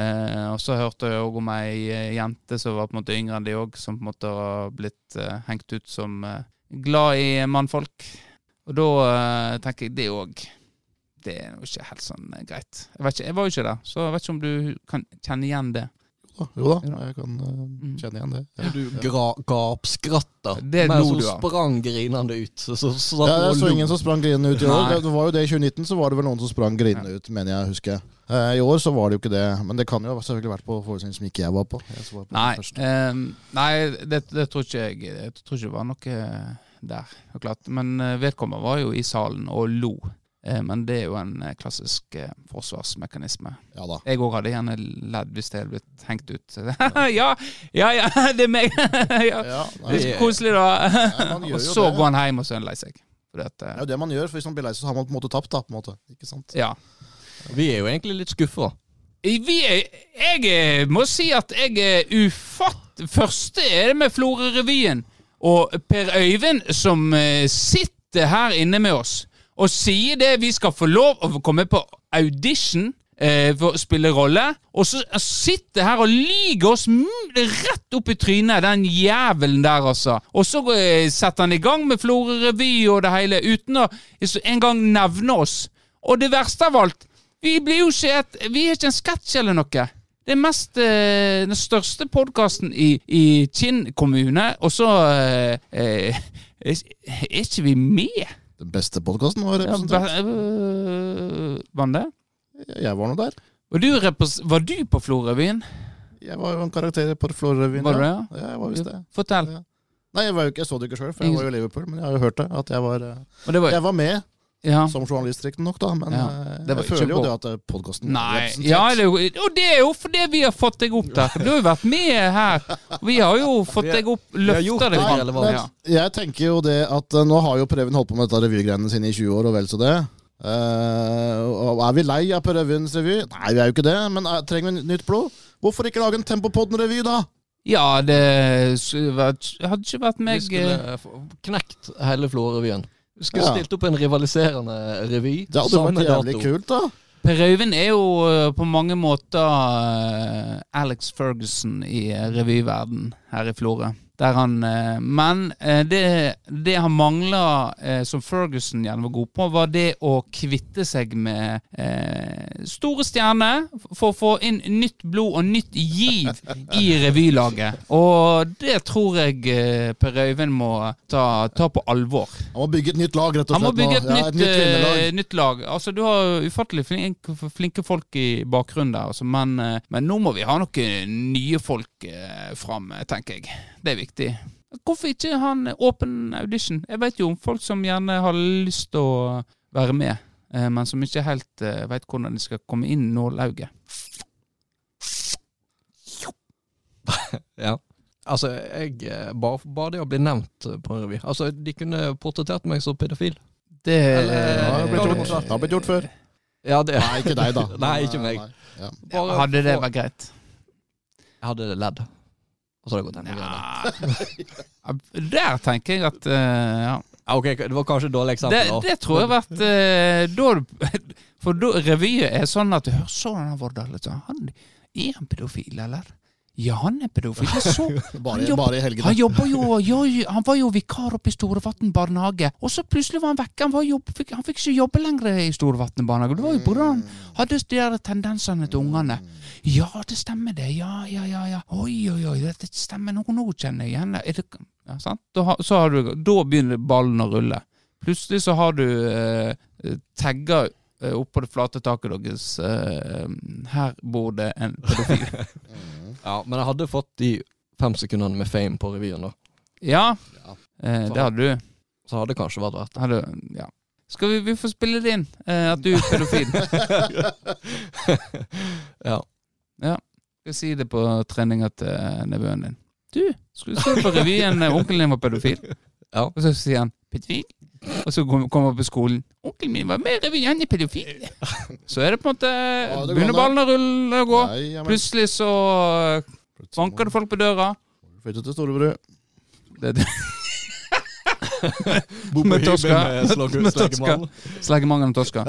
Speaker 2: Eh, og så hørte jeg òg om ei eh, jente som var på en måte yngre enn de òg, som på en måte har blitt eh, hengt ut som eh, glad i mannfolk. Og da eh, tenker jeg det òg det er jo ikke helt sånn eh, greit. Jeg, vet ikke, jeg var jo ikke der, så jeg vet ikke om du kan kjenne igjen det.
Speaker 4: Jo da, Jo da,
Speaker 2: Ja. Mm.
Speaker 4: jeg kan eh, kjenne igjen det. Ja.
Speaker 3: Du gra gapskratter
Speaker 2: Det
Speaker 3: mens
Speaker 2: lo
Speaker 3: hun
Speaker 2: du av.
Speaker 3: sprang grinende ut. Så, så, så,
Speaker 4: Ja,
Speaker 3: satt hun og
Speaker 4: jeg så
Speaker 3: lo.
Speaker 4: ingen som sprang grinende ut i år.
Speaker 2: Nei.
Speaker 4: Det- Det var jo det i 2019, så var det vel noen som sprang grinende ut, mener jeg å huske. Eh, I år så var det jo ikke det, men det kan jo ha selvfølgelig vært på forestilling som ikke jeg var på. Jeg så var på den
Speaker 2: Nei,
Speaker 4: første.
Speaker 2: ehm, nei det, det tror ikke jeg Jeg tror ikke det var noe eh, der. det er Klart. Men eh, vedkommende var jo i salen og lo. Eh, Men det er jo en eh, klassisk eh, forsvarsmekanisme.
Speaker 4: Ja da.
Speaker 2: Jeg òg hadde gjerne ledd hvis det hadde blitt hengt ut. Så det- ja, ja, ja, det er meg! ja.
Speaker 4: Ja,
Speaker 2: Det
Speaker 4: nei,
Speaker 2: er så
Speaker 4: det
Speaker 2: koselig, da.
Speaker 4: man gjør
Speaker 2: Og
Speaker 4: jo
Speaker 2: så
Speaker 4: det.
Speaker 2: går han hjem og så er han lei seg. Fordi at, eh,
Speaker 4: er jo det man gjør, for hvis man blir lei seg, så har man på en måte tapt, da. på en måte. Ikke sant?
Speaker 2: ja.
Speaker 3: Vi er jo egentlig litt skuffa.
Speaker 2: I- Vi er, jeg eh, må si at jeg er ufatt... Første er det med Florø-revyen. Og Per Øyvind som eh, sitter her inne med oss og sier det vi skal få lov å få komme på audition eh, for å spille rolle. Og så eh, sitter her og lyger oss mm, rett opp i trynet, den jævelen der, altså. Og så eh, setter han i gang med Florø-revy og det hele uten å engang nevne oss. Og det verste av alt vi blir jo ikke et, Vi er ikke en sketsj eller noe. Det er mest, eh, den største podkasten i, i Kinn kommune, og så eh, eh, er er ikke vi med?
Speaker 4: Den beste podkasten var
Speaker 2: Ja,
Speaker 4: representert.
Speaker 2: be- eh, Var det?
Speaker 4: Jeg var nå der.
Speaker 2: Var du, repres- var du på Florøvyen?
Speaker 4: Jeg var jo en karakter på Florø-revyen.
Speaker 2: Var du
Speaker 4: ja.
Speaker 2: det?
Speaker 4: Ja, jeg var visst det.
Speaker 2: Fortell.
Speaker 4: Ja. Nei, jeg, var jo ikke, jeg så det ikke sjøl, for jeg var jo i Liverpool, men jeg har jo hørt det. At jeg var eh,
Speaker 2: Og det var,
Speaker 4: Jeg var med
Speaker 2: Ja.
Speaker 4: Som journalist, riktignok, da. Men
Speaker 2: Ja.
Speaker 4: eh,
Speaker 3: Det var
Speaker 4: jeg føler
Speaker 3: ikke
Speaker 4: jo
Speaker 3: bra.
Speaker 4: det at podkasten
Speaker 2: Nei. Ja, det er jo, og det er jo fordi vi har fått deg opp der. Du har jo vært med her. Vi har jo fått
Speaker 3: Vi-
Speaker 2: deg opp,
Speaker 3: vi har gjort
Speaker 2: løfta deg
Speaker 3: det
Speaker 2: fram.
Speaker 3: relevant.
Speaker 2: Ja.
Speaker 4: Jeg tenker jo det at eh, nå har jo Previn holdt på med dette revygreiene sine i 20 år, og vel så det. Eh, og er vi lei av Prevyens revy? Nei, vi er jo ikke det, men eh, trenger vi nytt blod? Hvorfor ikke lage en Tempopodden-revy, da?
Speaker 2: ja, det s- vært- hadde ikke vært
Speaker 3: Vi
Speaker 2: meg
Speaker 3: skulle
Speaker 2: eh,
Speaker 3: eh, få- knekt hele Florø-revyen. Vi skulle
Speaker 4: Ja.
Speaker 3: stilt opp en rivaliserende revy.
Speaker 4: Det hadde
Speaker 3: samme
Speaker 4: vært jævlig
Speaker 3: dato.
Speaker 4: kult, da.
Speaker 2: Per Øyvind er jo eh, på mange måter eh, Alex Ferguson i eh, revyverden her i Florø. Der han, eh, men eh, det, det han mangla, eh, som Ferguson gjerne var god på, var det å kvitte seg med eh, store stjerner for å få inn nytt blod og nytt giv i revylaget. Og det tror jeg eh, Per Øyvind må ta, ta på alvor.
Speaker 4: Han må bygge et nytt lag, rett og
Speaker 2: Han
Speaker 4: slett.
Speaker 2: må bygge et,
Speaker 4: nå.
Speaker 2: nytt,
Speaker 4: ja, et nytt
Speaker 2: eh,
Speaker 4: vinnerlag.
Speaker 2: nytt, lag. Altså, du har jo ufattelig flinke, flinke folk i bakgrunnen der, altså, men, eh, men nå må vi ha noen nye folk eh, fram, eh, tenker jeg. Det er viktig. Hvorfor ikke ha en åpen audition? Jeg vet jo om folk som gjerne har lyst til å være med, eh, men som ikke helt eh, vet hvordan de skal komme inn nålauget.
Speaker 3: Ja. Altså, jeg eh, bare, bare det å bli nevnt eh, på en revy Altså, de kunne portrettert meg som pedofil.
Speaker 2: Det
Speaker 3: Eller-
Speaker 4: Ja, det har blitt
Speaker 3: eh,
Speaker 4: gjort. Det har blitt gjort før.
Speaker 3: Ja, det
Speaker 4: Nei, ikke deg, da.
Speaker 3: Nei, ikke meg.
Speaker 4: Nei. Ja.
Speaker 3: Bare
Speaker 2: Hadde det
Speaker 3: få-
Speaker 2: vært greit?
Speaker 3: Jeg hadde ledd. Og så hadde jeg gått enda lenger.
Speaker 2: Ja, Der tenker jeg at eh, ja.
Speaker 3: Ja, ok, det var kanskje et
Speaker 2: Det,
Speaker 3: dårlig eksempel. da.
Speaker 2: det tror jeg har vært eh, da, du- For da, revyet er sånn at Hør, så han der Vårdal? vet du. Han er han pedofil, eller? Ja, han er pedofil. Jeg så Han
Speaker 4: Bare,
Speaker 2: jobber-
Speaker 4: bare i
Speaker 2: han
Speaker 4: helgene.
Speaker 2: jobber jo, jo Han var jo vikar oppe i Storevatn barnehage, og så plutselig var han vekke. Han, var jobb, fikk, han fikk ikke jobbe lenger i Storevatn barnehage. Det var jo pga. han hadde de der tendensene til ungene. Ja, det stemmer det. Ja, ja, ja. ja. Oi, oi, oi. Det, det stemmer. Nå, nå kjenner jeg igjen det. Er det ja, sant? Da, har- så har du, da begynner ballen å rulle. Plutselig så har du eh, tagga eh, oppå det flate taket deres. Eh, her bor det en pedofil.
Speaker 3: Ja, men jeg hadde fått de fem sekundene med fame på revyen, da.
Speaker 2: ja,
Speaker 4: Ja.
Speaker 2: eh, det hadde du.
Speaker 3: Så hadde det kanskje vært verdt det.
Speaker 2: Har du, ja. Skal vi, vi få spille det inn, eh, at du er pedofil?
Speaker 3: Ja.
Speaker 2: Skal si det på treninga til nevøen din. Du, skulle se på revyen eh, onkelen din var pedofil.
Speaker 3: Ja.
Speaker 2: Og så sier han pedofil. Og så kom- kommer han på skolen. Onkelen min var med i revyen, han er pedofil. Så er det på en måte
Speaker 4: det går
Speaker 2: Begynner
Speaker 4: an,
Speaker 2: ballen å rulle og gå.
Speaker 4: Nei, ja, men-
Speaker 2: Plutselig så eh, banker det folk på døra.
Speaker 4: Flyttet til Storebrød.
Speaker 2: Det, det. Med Tosca. Med Tosca. Sleggemangen og Tosca.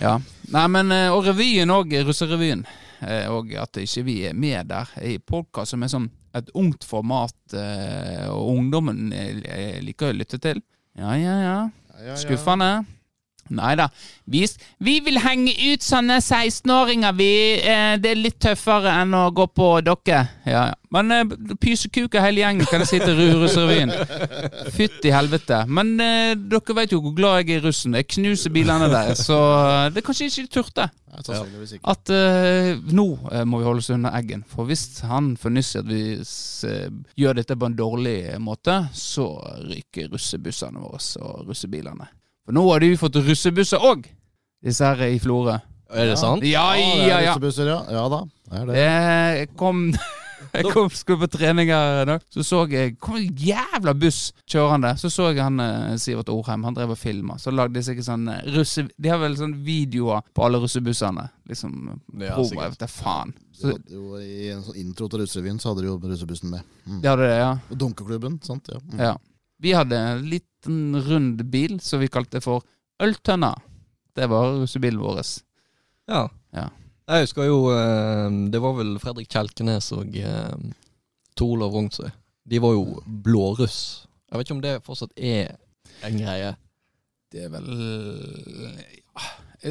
Speaker 2: Ja. Nei, men, eh, og revyen òg, russerevyen. Eh, Og at ikke vi er med der i podkast, som er sånn et ungt format, eh, og ungdommen eh, liker å lytte til. Ja, ja, ja.
Speaker 4: Ja, ja, ja.
Speaker 2: Skuffende. Nei da. Vi, vi vil henge ut sånne 16-åringer, vi. Eh, det er litt tøffere enn å gå på dere. Ja, ja. Men eh, pysekuker hele gjengen kan jeg si til Rurusrevyen. Fytti helvete. Men eh, dere vet jo hvor glad jeg er i russen. Jeg knuser bilene der, så eh, det er kanskje ikke de turte.
Speaker 4: Nei, sannsynligvis ikke.
Speaker 2: At eh, nå eh, må vi holde oss unna Eggen. For hvis han fornysser at vi s eh, gjør dette på en dårlig måte, så ryker russebussene våre og russebilene. For nå har de jo fått russebusser òg, disse her i Florø.
Speaker 3: Er Sånn. det sant?
Speaker 2: Ja,
Speaker 4: Ah, det
Speaker 2: ja,
Speaker 4: er
Speaker 2: ja.
Speaker 4: russebusser, ja. Ja da. Det er det.
Speaker 2: Jeg kom, jeg kom skulle på trening her i dag, så så jeg kom en jævla buss kjørende. Så så jeg han eh, Sivert Orheim, han drev og filma. Så lagde de sikkert sånn eh, russe... De har vel sånn videoer på alle russebussene. Liksom
Speaker 3: Ja,
Speaker 2: promo,
Speaker 3: sikkert.
Speaker 2: jeg vet da faen.
Speaker 4: De
Speaker 2: Så,
Speaker 4: hadde jo I en sånn intro til Russerevyen så hadde de jo russebussen med.
Speaker 2: de hadde det, ja.
Speaker 4: Og Dunkeklubben, sant? Ja. Mm.
Speaker 2: ja. Vi hadde en liten rund bil som vi kalte for Øltønna. Det var russebilen vår.
Speaker 3: Ja.
Speaker 2: Ja.
Speaker 3: Jeg husker jo eh, Det var vel Fredrik Kjelkenes og eh, Tor Olav Rognsøy. De var jo blåruss. Jeg vet ikke om det fortsatt er en greie.
Speaker 2: Det er vel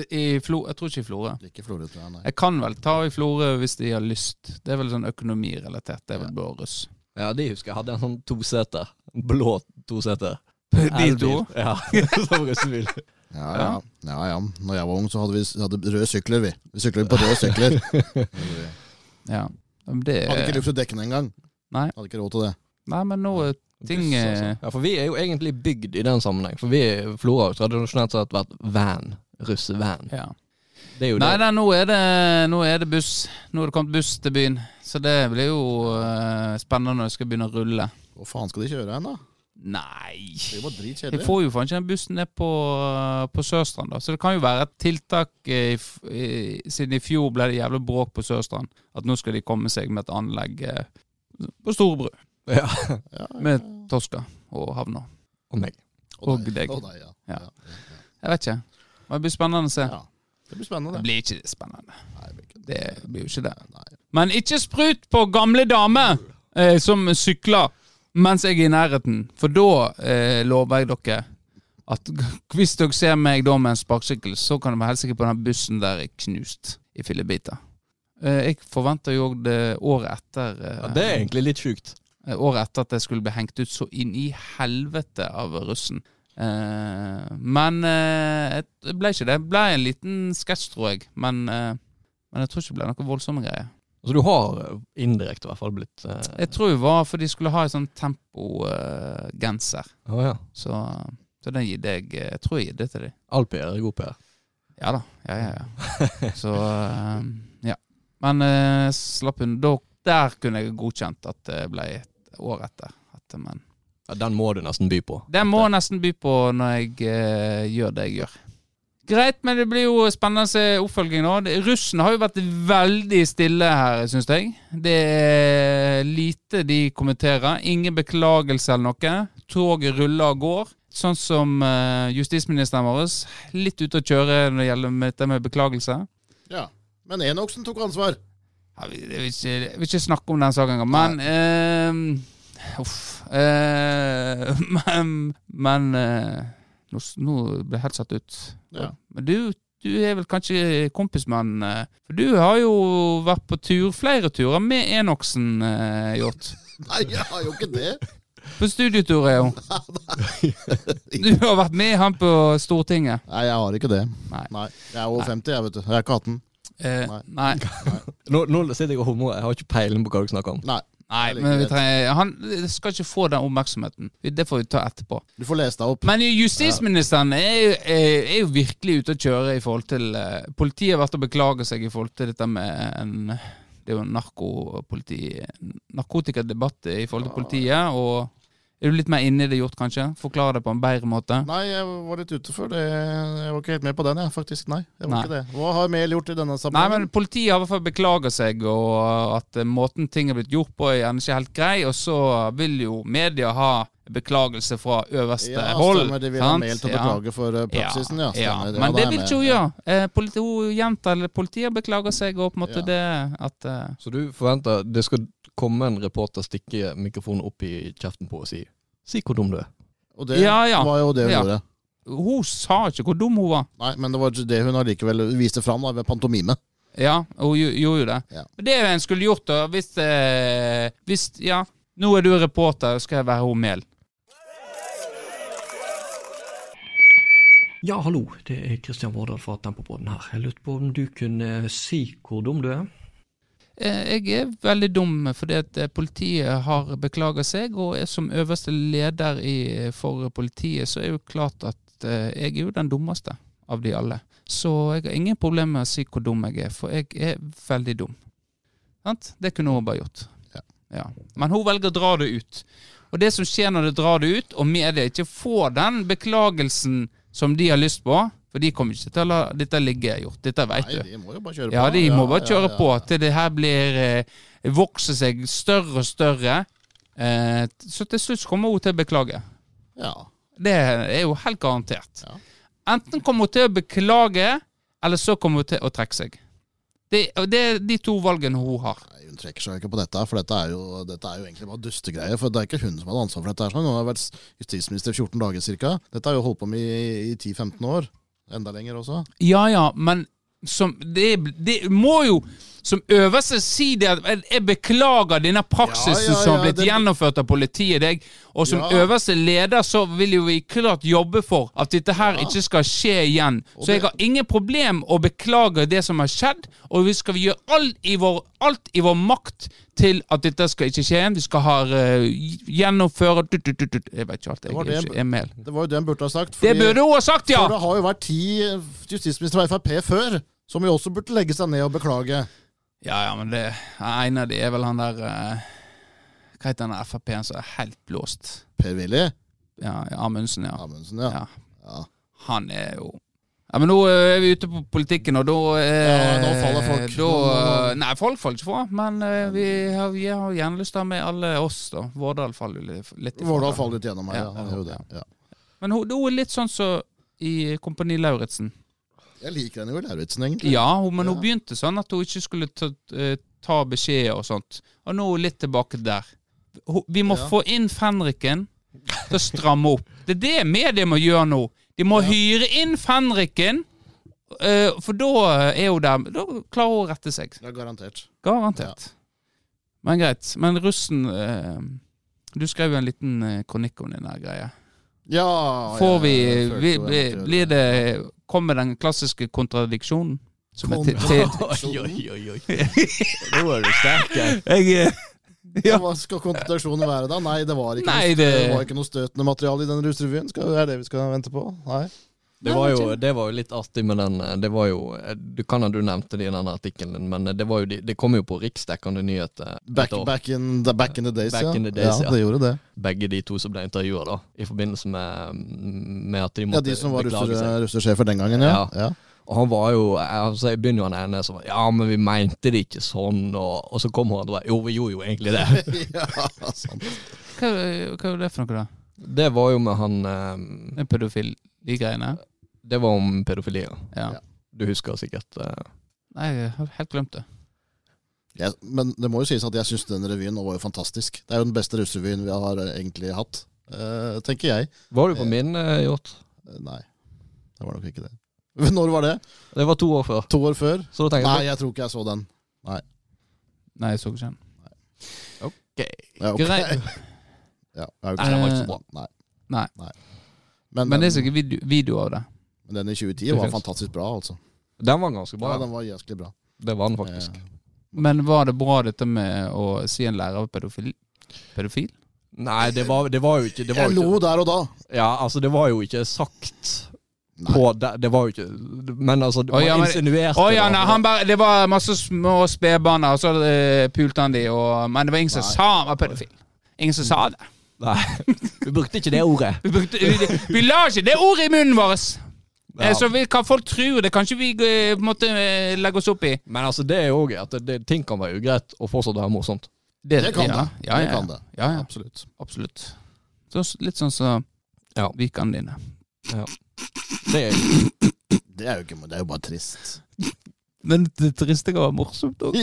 Speaker 2: i Flo, Jeg tror ikke i Florø.
Speaker 4: Ikke Florø, tror jeg. Nei.
Speaker 2: Jeg kan vel ta i Florø hvis de har lyst. Det er vel sånn økonomirelatert. Det er vel blå russ.
Speaker 3: Ja, de husker jeg hadde en sånn toseter. En Blå toseter.
Speaker 2: De to?
Speaker 3: Elbil. Ja, som russebil.
Speaker 4: Ja, ja. ja, ja. Når jeg var ung, så hadde vi s- hadde røde sykler, vi. Vi syklet på røde sykler.
Speaker 2: Ja. Men Det
Speaker 4: Hadde ikke luft til dekkene engang.
Speaker 2: Nei.
Speaker 4: Hadde ikke råd til det.
Speaker 2: Nei, men nå eh, ting eh,
Speaker 3: Ja, for vi er jo egentlig bygd i den sammenheng. For vi Flora har jo tradisjonelt sett vært van. Russevan.
Speaker 2: ja.
Speaker 3: Det er jo
Speaker 2: Nei
Speaker 3: det.
Speaker 2: da, nå er det, nå er det buss. Nå er det kommet buss til byen. Så det blir jo eh, spennende når det skal begynne å rulle.
Speaker 4: Hvor faen skal de kjøre hen, da?
Speaker 2: Nei
Speaker 4: Det var
Speaker 2: Vi
Speaker 4: dritkjedelig.
Speaker 2: får jo faen ikke den bussen ned på, på Sørstrand, da. Så det kan jo være et tiltak eh, i f- i, Siden i fjor ble det jævlig bråk på Sørstrand. At nå skal de komme seg med et anlegg eh, på Storebru.
Speaker 3: Ja.
Speaker 4: Ja, ja.
Speaker 2: Med Toska og havna.
Speaker 3: Og meg.
Speaker 4: Og
Speaker 2: og deg.
Speaker 4: Og deg, ja.
Speaker 2: Ja.
Speaker 4: Ja.
Speaker 2: Jeg vet ikke. Men det blir spennende å se.
Speaker 4: Ja. Det blir spennende,
Speaker 2: Det
Speaker 4: det.
Speaker 2: blir ikke spennende.
Speaker 4: Nei, det blir ikke
Speaker 2: Det blir jo ikke det.
Speaker 4: Nei.
Speaker 2: Men ikke sprut på gamle damer eh, som sykler mens jeg er i nærheten. For da eh, lover jeg dere at hvis dere ser meg da med en sparkesykkel, så kan dere være helt sikre på at den bussen der er knust i fillebiter. Eh, jeg forventer jo òg det året etter eh,
Speaker 3: Ja, det er egentlig litt sjukt.
Speaker 2: eh, Året etter at jeg skulle bli hengt ut så inn i helvete av russen. Eh, men eh, det ble ikke det. Det ble en liten sketsj, tror jeg. Men, eh, men jeg tror ikke det ble noe voldsomme greier.
Speaker 3: Altså, du har eh, indirekte i hvert fall blitt eh,
Speaker 2: Jeg tror det var for de skulle ha en sånn tempogenser.
Speaker 3: Å ja.
Speaker 2: Så, så den gidde jeg Jeg tror jeg gidde til dem.
Speaker 3: All PR er god PR.
Speaker 2: Ja da. Ja, ja, ja. Så eh, ja. Men eh, slapp unna. Da- Der kunne jeg godkjent at det ble et år etter. At, men
Speaker 3: Ja, den må du nesten by på.
Speaker 2: det må jeg nesten by på når jeg eh, gjør det jeg gjør. Greit, men det blir jo spennende å se oppfølging nå. Det- Russen har jo vært veldig stille her, syns jeg. Det er lite de kommenterer. Ingen beklagelse eller noe. Toget ruller og går. Sånn som eh, justisministeren vår. Litt ute å kjøre når det gjelder dette med beklagelse.
Speaker 4: Ja. Men Enoksen tok ansvar.
Speaker 2: Ja, vi, jeg, vil ikke, jeg vil ikke snakke om den saken engang, men eh, Uff. eh, men men eh, nå, s- nå ble jeg helt satt ut.
Speaker 4: Ja.
Speaker 2: Men du, du er vel kanskje kompis med han eh, For du har jo vært på tur, flere turer med Enoksen eh, gjort.
Speaker 4: Nei, jeg har jo ikke det.
Speaker 2: På studietur, er jo. Du har vært med han på Stortinget.
Speaker 4: Nei, jeg har ikke det.
Speaker 2: Nei.
Speaker 4: Jeg er over 50, jeg, vet du. Jeg er ikke 18.
Speaker 2: Eh,
Speaker 4: Nei.
Speaker 2: nei.
Speaker 3: Nå, nå sitter jeg og humrer, jeg har ikke peiling på hva dere snakker om.
Speaker 4: Nei.
Speaker 2: Nei,
Speaker 4: Jeg liker
Speaker 2: men vi
Speaker 4: det.
Speaker 2: trenger, han skal ikke få den oppmerksomheten. Det får vi ta etterpå.
Speaker 4: Du får lese deg opp.
Speaker 2: Men justisministeren er, jo- er, er jo virkelig ute å kjøre i forhold til eh, Politiet har vært og beklaget seg i forhold til dette med en Det er jo en narkopoliti narkotikadebatt i forhold til politiet, og er du litt mer inne i det gjort, kanskje? Forklare det på en bedre måte?
Speaker 4: Nei, jeg var litt ute før det. Jeg var ikke helt med på den, jeg, faktisk. Nei. jeg var
Speaker 2: Nei.
Speaker 4: ikke det. Hva har Mehl gjort i denne
Speaker 2: Nei, men
Speaker 4: sammenhengen?
Speaker 2: Politiet har i hvert fall beklaga seg, og at eh, måten ting er blitt gjort på, er gjerne ikke helt grei. Og så vil jo media ha beklagelse fra øverste
Speaker 4: ja,
Speaker 2: hold.
Speaker 4: stemmer, de vil ha
Speaker 2: sant?
Speaker 4: Mehl til å
Speaker 2: Ja.
Speaker 4: beklage for eh, praksisen, ja.
Speaker 2: ja. Men
Speaker 4: stemmer, da er
Speaker 2: det
Speaker 4: jeg
Speaker 2: vil
Speaker 4: med.
Speaker 2: ikke hun gjøre. Eh, politi, hun jenta eller politiet beklager seg, og på en måte
Speaker 4: Ja.
Speaker 2: det at eh,
Speaker 3: Så du forventer det skal komme en reporter stikke mikrofonen opp i kjeften på og si Si hvor dum du er.
Speaker 4: Og det
Speaker 2: Ja, ja.
Speaker 4: var jo det hun
Speaker 2: Ja.
Speaker 4: gjorde.
Speaker 2: Hun sa ikke hvor dum hun var.
Speaker 4: Nei, men det var det hun allikevel viste fram da, ved pantomime.
Speaker 2: Ja, hun gjo- gjorde jo det.
Speaker 4: Ja.
Speaker 2: Men det en skulle gjort, da, hvis, eh, hvis Ja, nå er du reporter, skal jeg være hun Mehl.
Speaker 5: Ja, hallo. Det er Kristian Vårdal fra Tempopodden her. Jeg lurte på om du kunne si hvor dum du er?
Speaker 2: Eh, Jeg er veldig dum fordi at eh, politiet har beklaga seg, og jeg som øverste leder i, eh, for politiet, så er jo klart at eh, jeg er jo den dummeste av de alle. Så jeg har ingen problemer med å si hvor dum jeg er, for jeg er veldig dum. Sant? Det kunne hun bare gjort.
Speaker 4: Ja.
Speaker 2: Ja. Men hun velger å dra det ut. Og det som skjer når det drar det ut, og media ikke får den beklagelsen som de har lyst på, for de kommer ikke til å la dette ligge gjort. Dette veit du.
Speaker 4: Nei, de må jo bare kjøre
Speaker 2: Ja,
Speaker 4: på.
Speaker 2: de må bare
Speaker 4: ja,
Speaker 2: kjøre
Speaker 4: ja.
Speaker 2: på til det her blir eh, vokser seg større og større. Eh, t- så til slutt kommer hun til å beklage.
Speaker 4: Ja.
Speaker 2: Det er jo helt garantert.
Speaker 4: Ja.
Speaker 2: Enten kommer hun til å beklage, eller så kommer hun til å trekke seg. Det, og det er de to valgene hun har.
Speaker 4: Nei, hun trekker seg jo ikke på dette, for dette er jo, dette er jo egentlig bare dustegreier. For det er ikke hun som hadde ansvar for dette. her, Sånn. Hun har vært justisminister i 14 dager cirka. Dette har jo holdt på med i, i 10-15 år. Enda lenger også.
Speaker 2: Ja ja, men som Det, det må jo som øverste si det at jeg- jeg beklager denne praksisen
Speaker 4: Ja, ja,
Speaker 2: som har
Speaker 4: ja,
Speaker 2: blitt
Speaker 4: det-
Speaker 2: gjennomført av politiet. deg Og som
Speaker 4: Ja.
Speaker 2: øverste leder så vil jo vi klart jobbe for at dette her ikke skal skje igjen.
Speaker 4: Og
Speaker 2: Så jeg
Speaker 4: det-
Speaker 2: har ingen problem å beklage det som har skjedd, og vi skal gjøre alt i vår alt i vår makt til at dette skal ikke skje. Vi skal ha eh, gjennomføre tut, tut, tut, tut. Jeg vet ikke alt.
Speaker 4: Det var
Speaker 2: Jeg er
Speaker 4: det-
Speaker 2: ikke Emil.
Speaker 4: Det var jo det han burde ha sagt.
Speaker 2: Det
Speaker 4: fordi-
Speaker 2: burde hun ha sagt, ja!
Speaker 4: For det har jo vært ti justisministre fra Frp før, som jo også burde legge seg ned og beklage.
Speaker 2: Ja, ja, men det En av de er vel han der eh, Hva heter han der Frp-en som er helt blåst?
Speaker 4: Per-Willy
Speaker 2: Ja, Amundsen, ja.
Speaker 4: Amundsen, ja.
Speaker 2: Ja.
Speaker 4: Ja.
Speaker 2: Han er jo ja, men Nå eh, er vi ute på politikken, og da eh,
Speaker 4: Ja, nå faller folk.
Speaker 2: da, eh, nei, folk faller ikke fra, men eh, vi, har, vi har gjerne lyst til å ha med alle oss, da. Vårdal faller jo litt litt ifra.
Speaker 4: Vårdal
Speaker 2: da.
Speaker 4: faller litt gjennom her, ja.
Speaker 2: Ja,
Speaker 4: Han gjør jo det. Ja.
Speaker 2: Men hun, hun er litt sånn som i Kompani Lauritzen.
Speaker 4: Jeg liker henne jo i Lauritzen, egentlig.
Speaker 2: Ja, hun, men hun
Speaker 4: Ja.
Speaker 2: begynte sånn at hun ikke skulle ta, eh, ta beskjeder og sånt. Og nå er hun litt tilbake der. Hun- Vi må
Speaker 4: Ja.
Speaker 2: få inn Fenriken til å stramme opp. Det er det media må gjøre nå. De må
Speaker 4: Ja.
Speaker 2: hyre inn Fenriken, eh, for da er hun der. Da klarer hun å rette seg.
Speaker 4: Ja, garantert.
Speaker 2: Garantert. Men greit. Men russen eh, Du skrev jo en liten eh, kronikk om den der greia.
Speaker 4: Ja,
Speaker 2: Får
Speaker 4: jeg
Speaker 2: vi,
Speaker 4: følte
Speaker 2: vi
Speaker 4: jo
Speaker 2: blir,
Speaker 4: at-
Speaker 2: blir det Kommer den klassiske kontradiksjonen? Som er til, til,
Speaker 3: Oi, oi, oi, oi. Nå er du sterk. jeg.
Speaker 2: Jeg, eh,
Speaker 4: Ja, Hva skal kontradiksjonen være da? Nei, det var ikke,
Speaker 2: Nei,
Speaker 4: noe,
Speaker 2: det-
Speaker 4: det var ikke noe støtende materiale i den russerevyen. Skal- Er det vi skal vente på? Nei.
Speaker 3: Det var, jo, det var jo litt artig med den eh, Det var jo, eh, Du kan ha du nevnte det i den artikkelen din, men eh, det, var jo, de- det kom jo på riksdekkende nyheter. et
Speaker 4: Back,
Speaker 3: år.
Speaker 4: back, in, the, back in the days,
Speaker 3: Back
Speaker 4: ja.
Speaker 3: in the days,
Speaker 4: ja.
Speaker 3: ja.
Speaker 4: Det gjorde det.
Speaker 3: Begge de to som ble intervjua, da. I forbindelse med, mm, med at de
Speaker 4: Ja,
Speaker 3: måtte
Speaker 4: De som var
Speaker 3: beklage seg.
Speaker 4: russer, russersjefer den gangen, ja. ja.
Speaker 3: Og han var jo altså Jeg begynner jo han ene som var Ja, men vi mente det ikke sånn, og, og så kom han og bare Jo, vi gjorde jo egentlig det.
Speaker 4: ja. sant.
Speaker 2: hva, hva er det for noe, da?
Speaker 3: det var jo med han eh,
Speaker 2: Den pedofili-greiene?
Speaker 3: Det var om pedofili. ja.
Speaker 2: Ja.
Speaker 4: Ja.
Speaker 3: Du husker sikkert eh,
Speaker 2: Nei, jeg har helt glemt det.
Speaker 4: Jeg, men det må jo sies at jeg syns den revyen nå var jo fantastisk. Det er jo den beste russerevyen vi har eh, egentlig hatt, eh, tenker jeg.
Speaker 3: Var du på min, eh, Hjort?
Speaker 4: Eh, Nei, det var nok ikke det. Men Når var det?
Speaker 3: Det var to år før.
Speaker 4: To år før?
Speaker 3: Så da tenkte
Speaker 4: Nei,
Speaker 3: jeg
Speaker 4: jeg tror ikke jeg så den.
Speaker 2: Nei, jeg så ikke den.
Speaker 4: Ja, ok.
Speaker 2: Grei-
Speaker 4: Ja, det er
Speaker 2: Nei,
Speaker 4: jo ikke
Speaker 2: den var
Speaker 4: så-
Speaker 2: ikke så bra.
Speaker 4: Nei.
Speaker 2: Eh, Nei.
Speaker 4: Men,
Speaker 2: Men det er
Speaker 4: den,
Speaker 2: sikkert video, video av det.
Speaker 4: men den i 2010 var fantastisk bra, altså.
Speaker 3: Den var ganske bra.
Speaker 4: Ja,
Speaker 3: Ja,
Speaker 4: den var jæsklig bra.
Speaker 3: det var den faktisk.
Speaker 4: Eh,
Speaker 2: Men var det bra, dette med å si en lærer var pedofil? pedofil?
Speaker 4: Altså,
Speaker 3: Nei, det var, det var jo ikke det var
Speaker 4: Jeg
Speaker 3: jo
Speaker 4: lo
Speaker 3: ikke,
Speaker 4: der og da.
Speaker 3: Ja, altså, det var jo ikke sagt
Speaker 4: Nei.
Speaker 3: på det, det var jo ikke Men altså, det
Speaker 2: Å,
Speaker 3: var
Speaker 2: ja, men-
Speaker 3: insinuert.
Speaker 2: Å ja, nei, han bare, det var masse små spedbarn, og så eh, pulte han de, og, men det var ingen som
Speaker 4: Nei.
Speaker 2: sa han var pedofil. Ingen som sa det.
Speaker 3: Nei, vi brukte ikke det ordet.
Speaker 2: Vi, brukte, vi, vi la ikke det ordet i munnen vår!
Speaker 3: Ja.
Speaker 2: Eh, Så vi, hva folk tror, det kan ikke vi eh, på en måte, eh, legge oss opp i.
Speaker 3: Men altså, det er jo også at det, det, ting kan være ugreit og fortsatt være morsomt.
Speaker 4: Det kan
Speaker 2: ja.
Speaker 4: det.
Speaker 2: Ja,
Speaker 4: Det
Speaker 2: ja,
Speaker 4: kan det.
Speaker 2: Ja, ja.
Speaker 4: Absolutt.
Speaker 2: Absolutt. Så, litt sånn som
Speaker 3: Ja.
Speaker 2: vikene dine.
Speaker 3: Det er,
Speaker 4: Det er jo, ikke, det er jo bare trist.
Speaker 2: Men det triste kan være morsomt òg.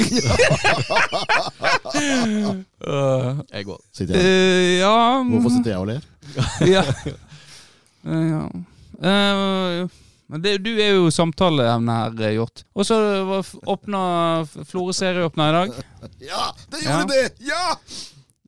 Speaker 3: jeg går.
Speaker 4: Sitter jeg.
Speaker 2: Eh, ja mm,
Speaker 4: Hvorfor sitter jeg og ler?
Speaker 2: ja. Eh, ja. Eh, men det, du er jo samtaleevne her, eh, Hjort. Og så var f- åpna f- Florø serieåpna i dag.
Speaker 4: Ja, det
Speaker 2: gjorde Ja.
Speaker 4: det! Ja!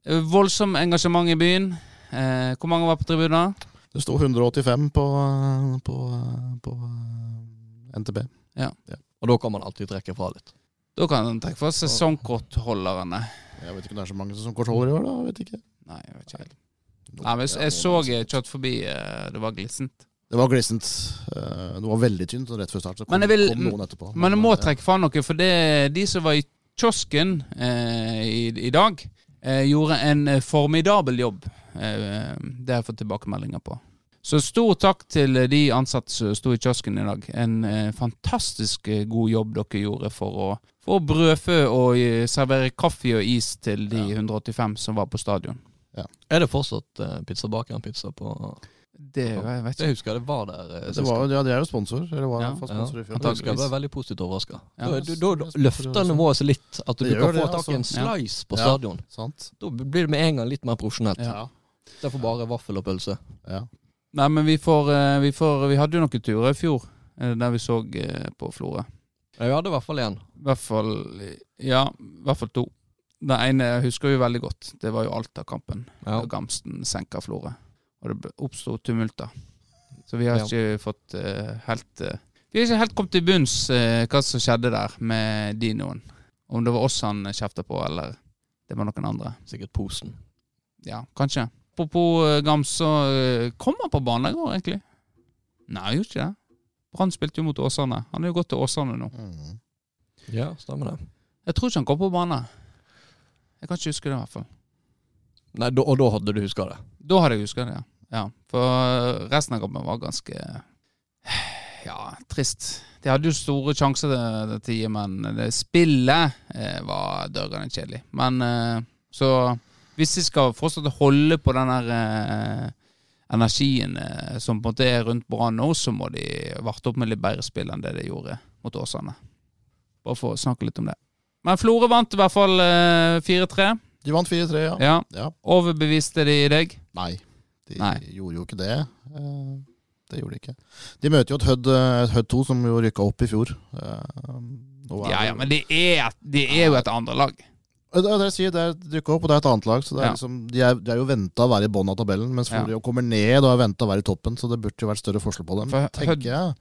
Speaker 2: Eh, Voldsom engasjement i byen. Eh, hvor mange var på tribunen?
Speaker 4: Det sto 185 på, eh, på, eh, på eh, NTB.
Speaker 3: Og da kan man alltid trekke fra litt.
Speaker 2: Da kan en trekke for sesongkortholderne.
Speaker 4: Jeg vet ikke om det er så mange som kortholder i år, da. Jeg vet ikke. altså,
Speaker 2: Nei, jeg vet ikke helt. Nei, men jeg, jeg så eh, kjørt forbi, eh, det var glissent.
Speaker 4: Det var glissent. Eh, Det var veldig tynt sånn rett før start. Så kom,
Speaker 2: Men jeg vil-
Speaker 4: kom noen etterpå.
Speaker 2: Men jeg må trekke fra noe, for det, de som var i kiosken eh, i, i dag, eh, gjorde en eh, formidabel jobb. Eh, det har jeg fått tilbakemeldinger på. Så stor takk til eh, de ansatte som sto i kiosken i dag. En eh, fantastisk eh, god jobb dere gjorde for å for å brødfø og eh, servere kaffe og is til de 185 som var på stadion.
Speaker 3: Er det fortsatt uh, pizzabakeren-pizza på
Speaker 2: Det jeg vet
Speaker 3: Jeg
Speaker 2: ikke.
Speaker 3: husker det var der. eh,
Speaker 4: Det
Speaker 3: sist.
Speaker 4: var, altså, ja, de er jo sponsor. Eller var
Speaker 2: Ja,
Speaker 4: en fast
Speaker 3: ja.
Speaker 4: sponsor i fjor.
Speaker 3: Jeg husker jeg ble veldig positivt overraska.
Speaker 2: Ja.
Speaker 3: Da, da, da løfter nivået seg litt. At du
Speaker 4: Det
Speaker 3: kan
Speaker 4: gjør det,
Speaker 3: få tak i en
Speaker 2: altså.
Speaker 3: slice på
Speaker 4: Ja.
Speaker 3: stadion.
Speaker 4: Sant?
Speaker 3: Da blir det med en gang litt mer profesjonelt.
Speaker 2: Ja.
Speaker 3: Derfor bare vaffel og pølse.
Speaker 4: Ja.
Speaker 2: Nei, men vi, får, eh, vi, får, vi hadde jo noen turer i fjor eh, der vi så eh, på Florø.
Speaker 3: Jeg hadde i hvert fall en.
Speaker 2: I hvert fall Ja, i hvert fall to. Den ene husker vi veldig godt. Det var jo Alta-kampen.
Speaker 3: Ja.
Speaker 2: Da Gamsten senka Florø. Og det ble- oppsto tumulter. Så vi har
Speaker 3: Ja.
Speaker 2: ikke fått eh, helt eh, Vi har ikke helt kommet til bunns eh, hva som skjedde der med dinoen. Om det var oss han kjefta på, eller det var noen andre.
Speaker 3: Sikkert posen.
Speaker 2: Ja, kanskje. Apropos eh, Gams, så eh, kom han på banen i går, egentlig. Nei, han gjorde ikke det. Brann spilte jo mot Åsane. Han er jo gått til Åsane nå.
Speaker 4: Mm.
Speaker 3: Ja, stemmer det.
Speaker 2: Jeg tror ikke han kom på banen. Jeg kan ikke huske det, i hvert fall.
Speaker 3: Nei, da, og da hadde du huska det.
Speaker 2: Da hadde jeg huska det, ja. ja. For resten av kampen var ganske ja, trist. De hadde jo store sjanser til tider, men det spillet eh, var dørgende kjedelig. Men eh, så hvis de skal fortsatt holde på den der eh, energien eh, som på en måte er rundt Brann nå, så må de varte opp med litt bedre spill enn det de gjorde mot Åsane. Bare for å snakke litt om det. Men Florø vant i hvert fall eh, 4-3.
Speaker 4: De vant 4-3, ja.
Speaker 2: Ja.
Speaker 4: Ja.
Speaker 2: Overbeviste de deg?
Speaker 4: Nei, de
Speaker 2: Nei.
Speaker 4: gjorde jo ikke det. Eh, Det gjorde de ikke. De møter jo et Hødd, eh, et Hødd 2 som jo rykka opp i fjor. Eh, nå er
Speaker 2: Ja,
Speaker 4: det-
Speaker 2: ja, men det er, det er jo et andre lag.
Speaker 4: Og Det, og det, jeg sier, det er rykka opp, og det er et annet lag. Så det er
Speaker 2: Ja.
Speaker 4: liksom, de, er, de er jo venta å være i bånn av tabellen, mens
Speaker 2: Ja.
Speaker 4: Florø kommer ned og er venta å være i toppen. Så det burde jo vært større forskjell på dem,
Speaker 2: For
Speaker 4: tenker
Speaker 2: Hødd-
Speaker 4: jeg.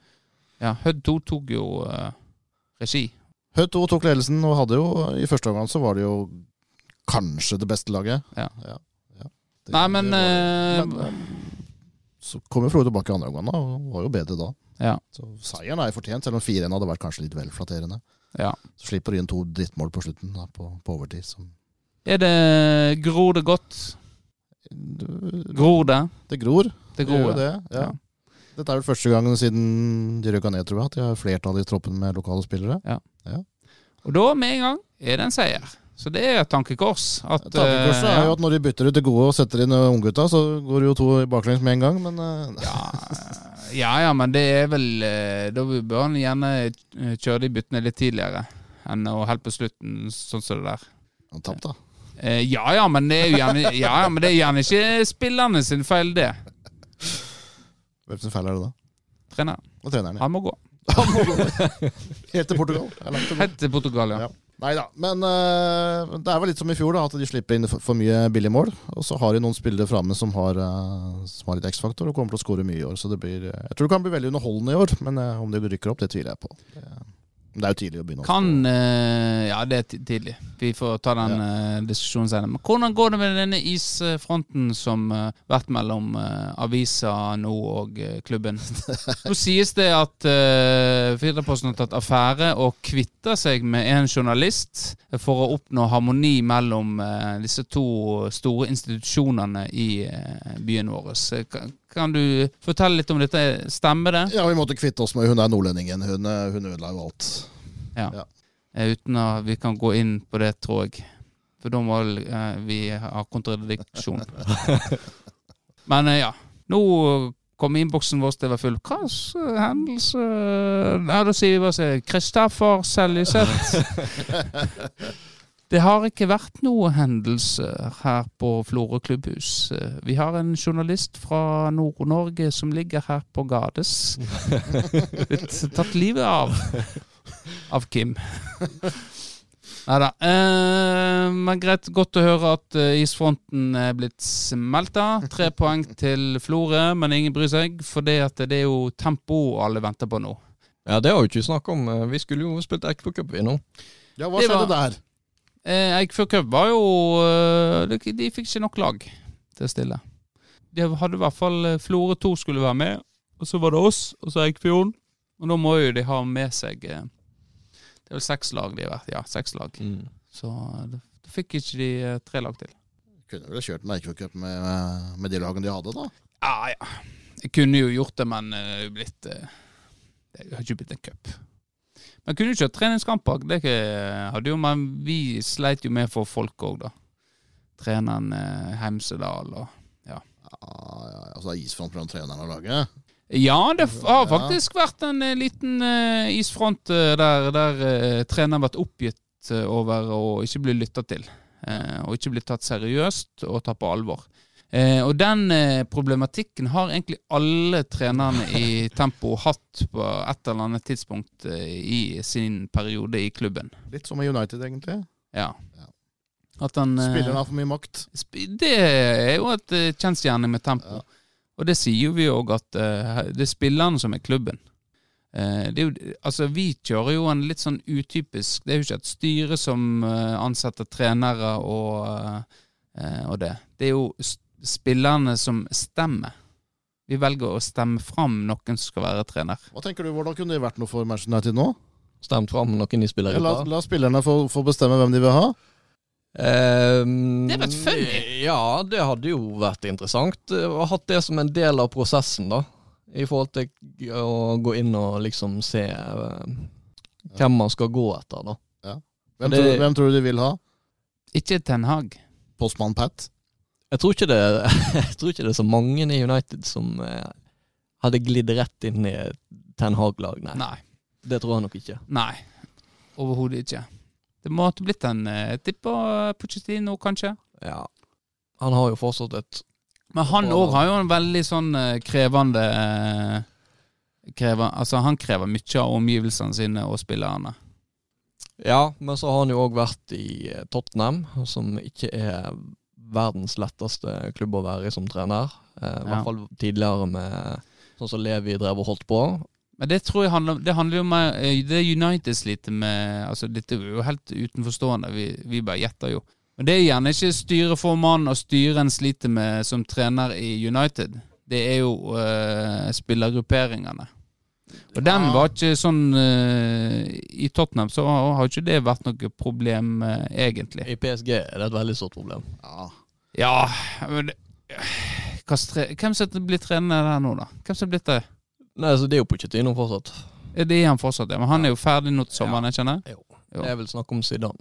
Speaker 2: Ja, Hødd 2 tok jo eh, regi.
Speaker 4: Hødd 2 tok ledelsen og hadde jo I første omgang så var det jo kanskje det beste laget.
Speaker 2: Ja.
Speaker 4: ja, ja. Det-
Speaker 2: Nei, men,
Speaker 4: det
Speaker 2: eh,
Speaker 4: var- men, eh, Så kom jo Florø tilbake i andre omgang, da, og var jo bedre da.
Speaker 2: Ja.
Speaker 4: Så seieren er jo fortjent, selv om 4-1 hadde vært kanskje litt vel flatterende.
Speaker 2: Ja.
Speaker 4: Så slipper de inn to drittmål på slutten, da, på, på overtid. Som
Speaker 2: Er det Gror det godt?
Speaker 4: det
Speaker 2: Gror det?
Speaker 4: gror.
Speaker 2: Det
Speaker 4: Det
Speaker 2: gror
Speaker 4: gjør
Speaker 2: det.
Speaker 4: jo det, ja. Dette er vel første gangen siden de røka ned, tror jeg, at de har flertall i troppen med lokale spillere.
Speaker 2: Og da, med en gang, er det en seier. Så det er et tankekors. At,
Speaker 4: Tankekorset
Speaker 2: eh,
Speaker 4: er jo at når de bytter ut det gode og setter inn eh, unggutta, så går det jo to i baklengs med en gang, men eh,
Speaker 2: ja, ja, ja, men det er vel eh, Da bør han gjerne eh, kjøre de byttene litt tidligere enn å helt på slutten, sånn som det der.
Speaker 4: han tapte, da.
Speaker 2: Eh, ja, ja, men det er jo gjerne, ja, ja, men det er gjerne ikke spillerne sin feil, det.
Speaker 4: Hvem sin feil er det da?
Speaker 2: Treneren,
Speaker 4: Og treneren, ja.
Speaker 2: han må gå.
Speaker 4: Han må gå. Helt til Portugal. Det er langt til
Speaker 2: Helt til Portugal, ja.
Speaker 4: Ja. Nei da, men eh, det er vel litt som i fjor, da, at de slipper inn for, for mye billige mål. Og så har de noen spillere framme som, har, eh, som har litt X-faktor og kommer til å skåre mye i år. Så det blir, eh, jeg tror det kan bli veldig underholdende i år, men eh, om det rykker opp, det tviler jeg på. Det, det er jo tidlig å begynne. å spå.
Speaker 2: Kan eh, Ja, det er ti- tidlig. Vi får ta den eh, diskusjonen senere. Men hvordan går det med denne isfronten som har vært mellom eh, avisa nå og eh, klubben? Nå sies det at uh, Firdaposten har tatt affære og kvitter seg med en journalist for å oppnå harmoni mellom eh, disse to store institusjonene i eh, byen vår. Så Kan, kan du fortelle litt om dette? Stemmer det?
Speaker 4: Ja, vi måtte kvitte oss med Hun er nordlendingen. Hun, eh, hun ødela jo alt.
Speaker 2: Eh, Uten at vi kan gå inn på det, tror jeg. For da må eh, vi ha kontradiksjon. Men eh, ja. Nå kom innboksen vår til å være full. Hva slags hendelse Nei, da sier vi bare så- Kristoffer Seljeseth. Det har ikke vært noe hendelse her på Florø klubbhus. Eh, Vi har en journalist fra Nord-Norge som ligger her på Gades. Blitt tatt livet av av Kim. Nei da. Eh, men greit, godt å høre at eh, isfronten er blitt smelta. Tre poeng til Florø, men ingen bryr seg, for det, at det er jo tempo alle venter på nå.
Speaker 3: Ja, det har vi ikke snakket om. Eh, Vi skulle jo spilt Ekpo Cup, vi nå.
Speaker 4: Ja, hva
Speaker 2: Det
Speaker 4: skjedde
Speaker 2: var-
Speaker 4: der?
Speaker 2: Eh, Eikfjord Cup var jo eh, de, de fikk ikke nok lag til å stille. De hadde i hvert fall eh, Florø 2 skulle være med, og så var det oss, og så Eikfjorden. Og da må jo de ha med seg eh, Det er vel seks lag de har vært. Ja, seks lag.
Speaker 3: Mm.
Speaker 2: Så eh, det, det fikk ikke de eh, tre lag til.
Speaker 4: Kunne vel ha kjørt en Eikefjord-cup med, eh, med de lagene de hadde, da.
Speaker 2: Ja, ja. Jeg kunne jo gjort det, men eh, det er jo blitt eh, Det har ikke blitt en cup. Men kunne jo kjørt treningskamper. Det er ikke- hadde jo, men vi sleit jo med for folk òg, da. Treneren eh, Hemsedal og
Speaker 4: Ja, ja, ja, altså det er isfront mellom treneren og laget.
Speaker 2: Ja, det f- har
Speaker 4: Ja.
Speaker 2: faktisk vært en eh, liten eh, isfront eh, der, der eh, treneren har vært oppgitt eh, over å ikke bli lytta til. eh, og ikke bli tatt seriøst og tatt på alvor. Eh, og den eh, problematikken har egentlig alle trenerne i Tempo hatt på et eller annet tidspunkt eh, i sin periode i klubben.
Speaker 4: Litt som i United, egentlig.
Speaker 2: Ja.
Speaker 4: Ja.
Speaker 2: At han eh,
Speaker 4: Spillerne har for mye makt.
Speaker 2: Sp- Det er jo et eh, kjensgjerning med tempo.
Speaker 4: Ja.
Speaker 2: Og det sier jo vi òg, at eh, det er spillerne som er klubben. Eh, Det er jo, altså Vi kjører jo en litt sånn utypisk Det er jo ikke et styre som eh, ansetter trenere og, eh, og det. Det er jo s- spillerne som stemmer. Vi velger å stemme fram noen som skal være trener.
Speaker 4: Hva tenker du, Hvordan kunne det vært noe for Manchester United nå?
Speaker 3: Stemt fram noen de spiller i
Speaker 4: La,
Speaker 3: par.
Speaker 4: la spillerne få, få bestemme hvem de vil ha.
Speaker 3: Ehm,
Speaker 2: Det hadde vært funny.
Speaker 3: Ja, det hadde jo vært interessant. eh, å ha Hatt det som en del av prosessen, da. I forhold til å gå inn og liksom se eh, hvem man skal gå etter, da.
Speaker 4: Hvem,
Speaker 3: Det-
Speaker 4: tror, hvem tror du de vil ha?
Speaker 2: Ikke Ten Hag.
Speaker 4: Postmann Pat?
Speaker 3: Jeg tror ikke det, jeg tror ikke det er så mange i United som eh, hadde glidd rett inn i Ten Hag-lag, nei.
Speaker 2: Nei.
Speaker 3: Det tror jeg nok ikke.
Speaker 2: Nei. Overhodet ikke. Det måtte blitt en eh, tipp på Pochettino, kanskje.
Speaker 3: Ja. Han har jo fortsatt et
Speaker 2: Men han
Speaker 3: Og-
Speaker 2: òg har jo en veldig sånn eh, krevende eh, krever, Altså, han krever mye av omgivelsene sine og spillerne.
Speaker 3: Ja, men så har han jo òg vært i eh, Tottenham, som ikke er verdens letteste klubb å være i som trener. Eh, I
Speaker 2: Ja.
Speaker 3: hvert fall tidligere med sånn som Levi drev og holdt på.
Speaker 2: Men det tror jeg handler, det handler jo om eh, Det United sliter med altså Dette er jo helt utenforstående, vi, vi bare gjetter jo. Men det er gjerne ikke styreformannen og styren sliter med som trener i United. Det er jo eh, spillergrupperingene. Og den
Speaker 3: Ja.
Speaker 2: var ikke sånn eh, I Tottenham så har har ikke det vært noe problem, eh, egentlig.
Speaker 3: I PSG er det et veldig stort problem.
Speaker 4: Ja.
Speaker 2: Ja, men det- Hva stre- Hvem som blir trener der nå, da? Hvem som er blitt det?
Speaker 3: Nei, så Det er jo Pochettino fortsatt.
Speaker 2: Er Det er han fortsatt, ja. Men han er jo ferdig nå til sommeren, jeg kjenner
Speaker 3: Jo.
Speaker 2: Jo.
Speaker 3: Det er vel snakk om Zidane,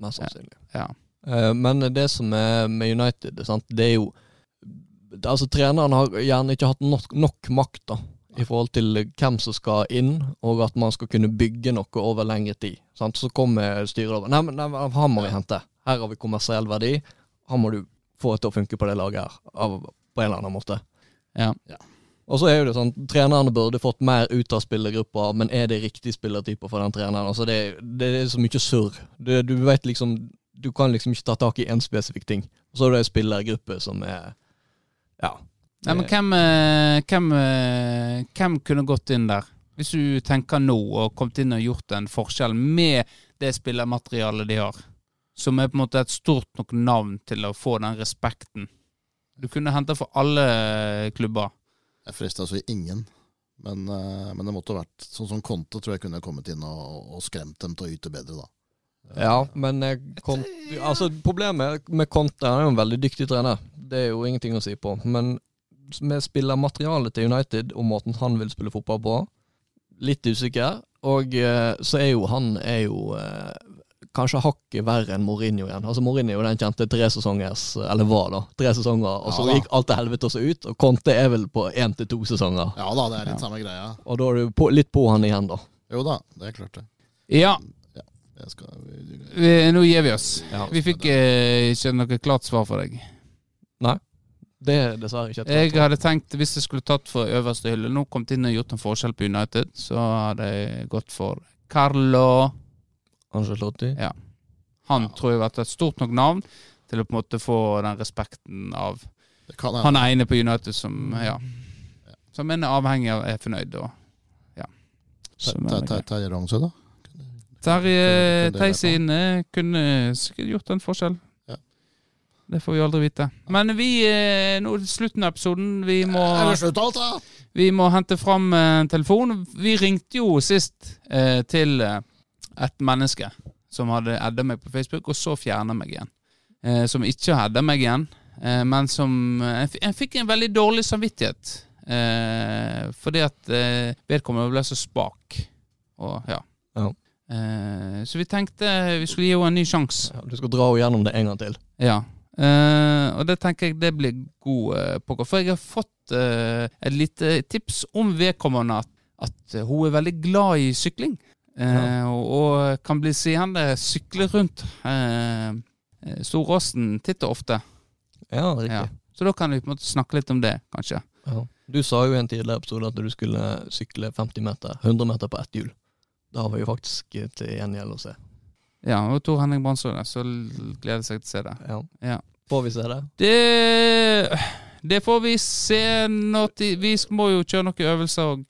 Speaker 3: mest sannsynlig.
Speaker 2: Ja.
Speaker 3: Eh, Men det som er med United, sant? det er jo Altså Treneren har gjerne ikke hatt nok, nok makt da i forhold til hvem som skal inn, og at man skal kunne bygge noe over lengre tid. Sant? Så kommer styret over. Nei, men nei, men her må vi hente. Her har vi kommersiell verdi. Her må du få det til å funke på det laget her, av, på en eller annen måte.
Speaker 2: Ja.
Speaker 3: Og så er jo det sånn, Trenerne burde fått mer ut av spillergruppa, men er det riktig spillertype for den treneren? Altså Det, det er så mye surr. Du, du vet liksom Du kan liksom ikke ta tak i én spesifikk ting. Og så er det ei spillergruppe som er Ja.
Speaker 2: Nei, men
Speaker 3: Det-
Speaker 2: hvem, eh, hvem, eh, hvem kunne gått inn der? Hvis du tenker nå og kommet inn og gjort en forskjell med det spillermaterialet de har, som er på en måte et stort nok navn til å få den respekten. Du kunne hente for alle eh, klubber.
Speaker 4: Jeg frista altså ingen. Men, eh, men det måtte ha vært sånn som Konto tror jeg kunne kommet inn og, og skremt dem til å yte bedre, da.
Speaker 3: Ja, men eh, Conte- altså, Problemet med Conte Han er jo en veldig dyktig trener. Det er jo ingenting å si på. Men med spillermaterialet til United og måten han vil spille fotball på, litt usikker. Og eh, så er jo han er jo eh, kanskje hakket verre enn Mourinho igjen. Altså Mourinho den kjente tre sesongers Eller var, da. Tre sesonger, og så
Speaker 4: Ja da.
Speaker 3: gikk alt til helvete også ut. Og Conte er vel på én til to sesonger.
Speaker 4: Ja da, det er litt samme greia.
Speaker 3: Og da er du på, litt på han igjen, da.
Speaker 4: Jo da, det er klart det.
Speaker 2: Ja,
Speaker 4: Jeg skal,
Speaker 2: vi, nå gir vi oss.
Speaker 3: Ja.
Speaker 2: Vi fikk eh, ikke noe klart svar fra deg.
Speaker 3: Det er dessverre ikke et
Speaker 2: Jeg
Speaker 3: godt
Speaker 2: hadde tenkt, hvis jeg skulle tatt for øverste hylle nå, kommet inn og gjort en forskjell på United, så hadde jeg gått for Carlo.
Speaker 3: råd. Ancelotti.
Speaker 2: Han tror jeg har vært et stort nok navn til å på en måte få den respekten av
Speaker 4: det kan hende.
Speaker 2: han ene på United som ja, som en avhengig av er fornøyd og ja. Som
Speaker 4: Ter-
Speaker 2: er
Speaker 4: Ter-
Speaker 2: det.
Speaker 4: Terje Rognsø, da?
Speaker 2: Terje
Speaker 4: Kunne- kunne det vært
Speaker 2: Theis inne kunne sikkert gjort en forskjell.
Speaker 4: Ja.
Speaker 2: Det får vi aldri vite. Men vi eh, nå er det slutten av episoden. Vi må
Speaker 4: Er det slutt alt, da?
Speaker 2: vi må hente fram eh, en telefon. Vi ringte jo sist eh, til eh, et menneske som hadde adda meg på Facebook, og så fjerna meg igjen. Eh, som ikke har adda meg igjen, eh, men som eh, jeg, f jeg fikk en veldig dårlig samvittighet. Eh, fordi at eh, vedkommende ble så spak. Og ja.
Speaker 3: Ja.
Speaker 2: Eh, så vi tenkte vi skulle gi henne en ny sjanse.
Speaker 3: Ja, du skal dra henne gjennom det en gang til.
Speaker 2: Ja. Eh, og det tenker jeg det blir god uh, pokker. For jeg har fått eh, et lite tips om vedkommende at, at hun er veldig glad i sykling. Eh, og, og kan bli seende sykle rundt uh, Storåsen titt og ofte.
Speaker 3: Ja, riktig.
Speaker 2: Ja. Så da kan vi på en måte snakke litt om det, kanskje.
Speaker 3: Ja. Du sa jo i en tidligere episode at du skulle sykle 50 meter, 100 meter på ett hjul. Det har vi jo faktisk eh, til gjengjeld å se.
Speaker 2: Ja, og Tor Henning Brandsrud, så l- gleder jeg seg til å se det.
Speaker 3: Ja.
Speaker 2: Ja.
Speaker 3: Får vi se det?
Speaker 2: Det, det får vi se når ti- Vi må jo kjøre noen øvelser og,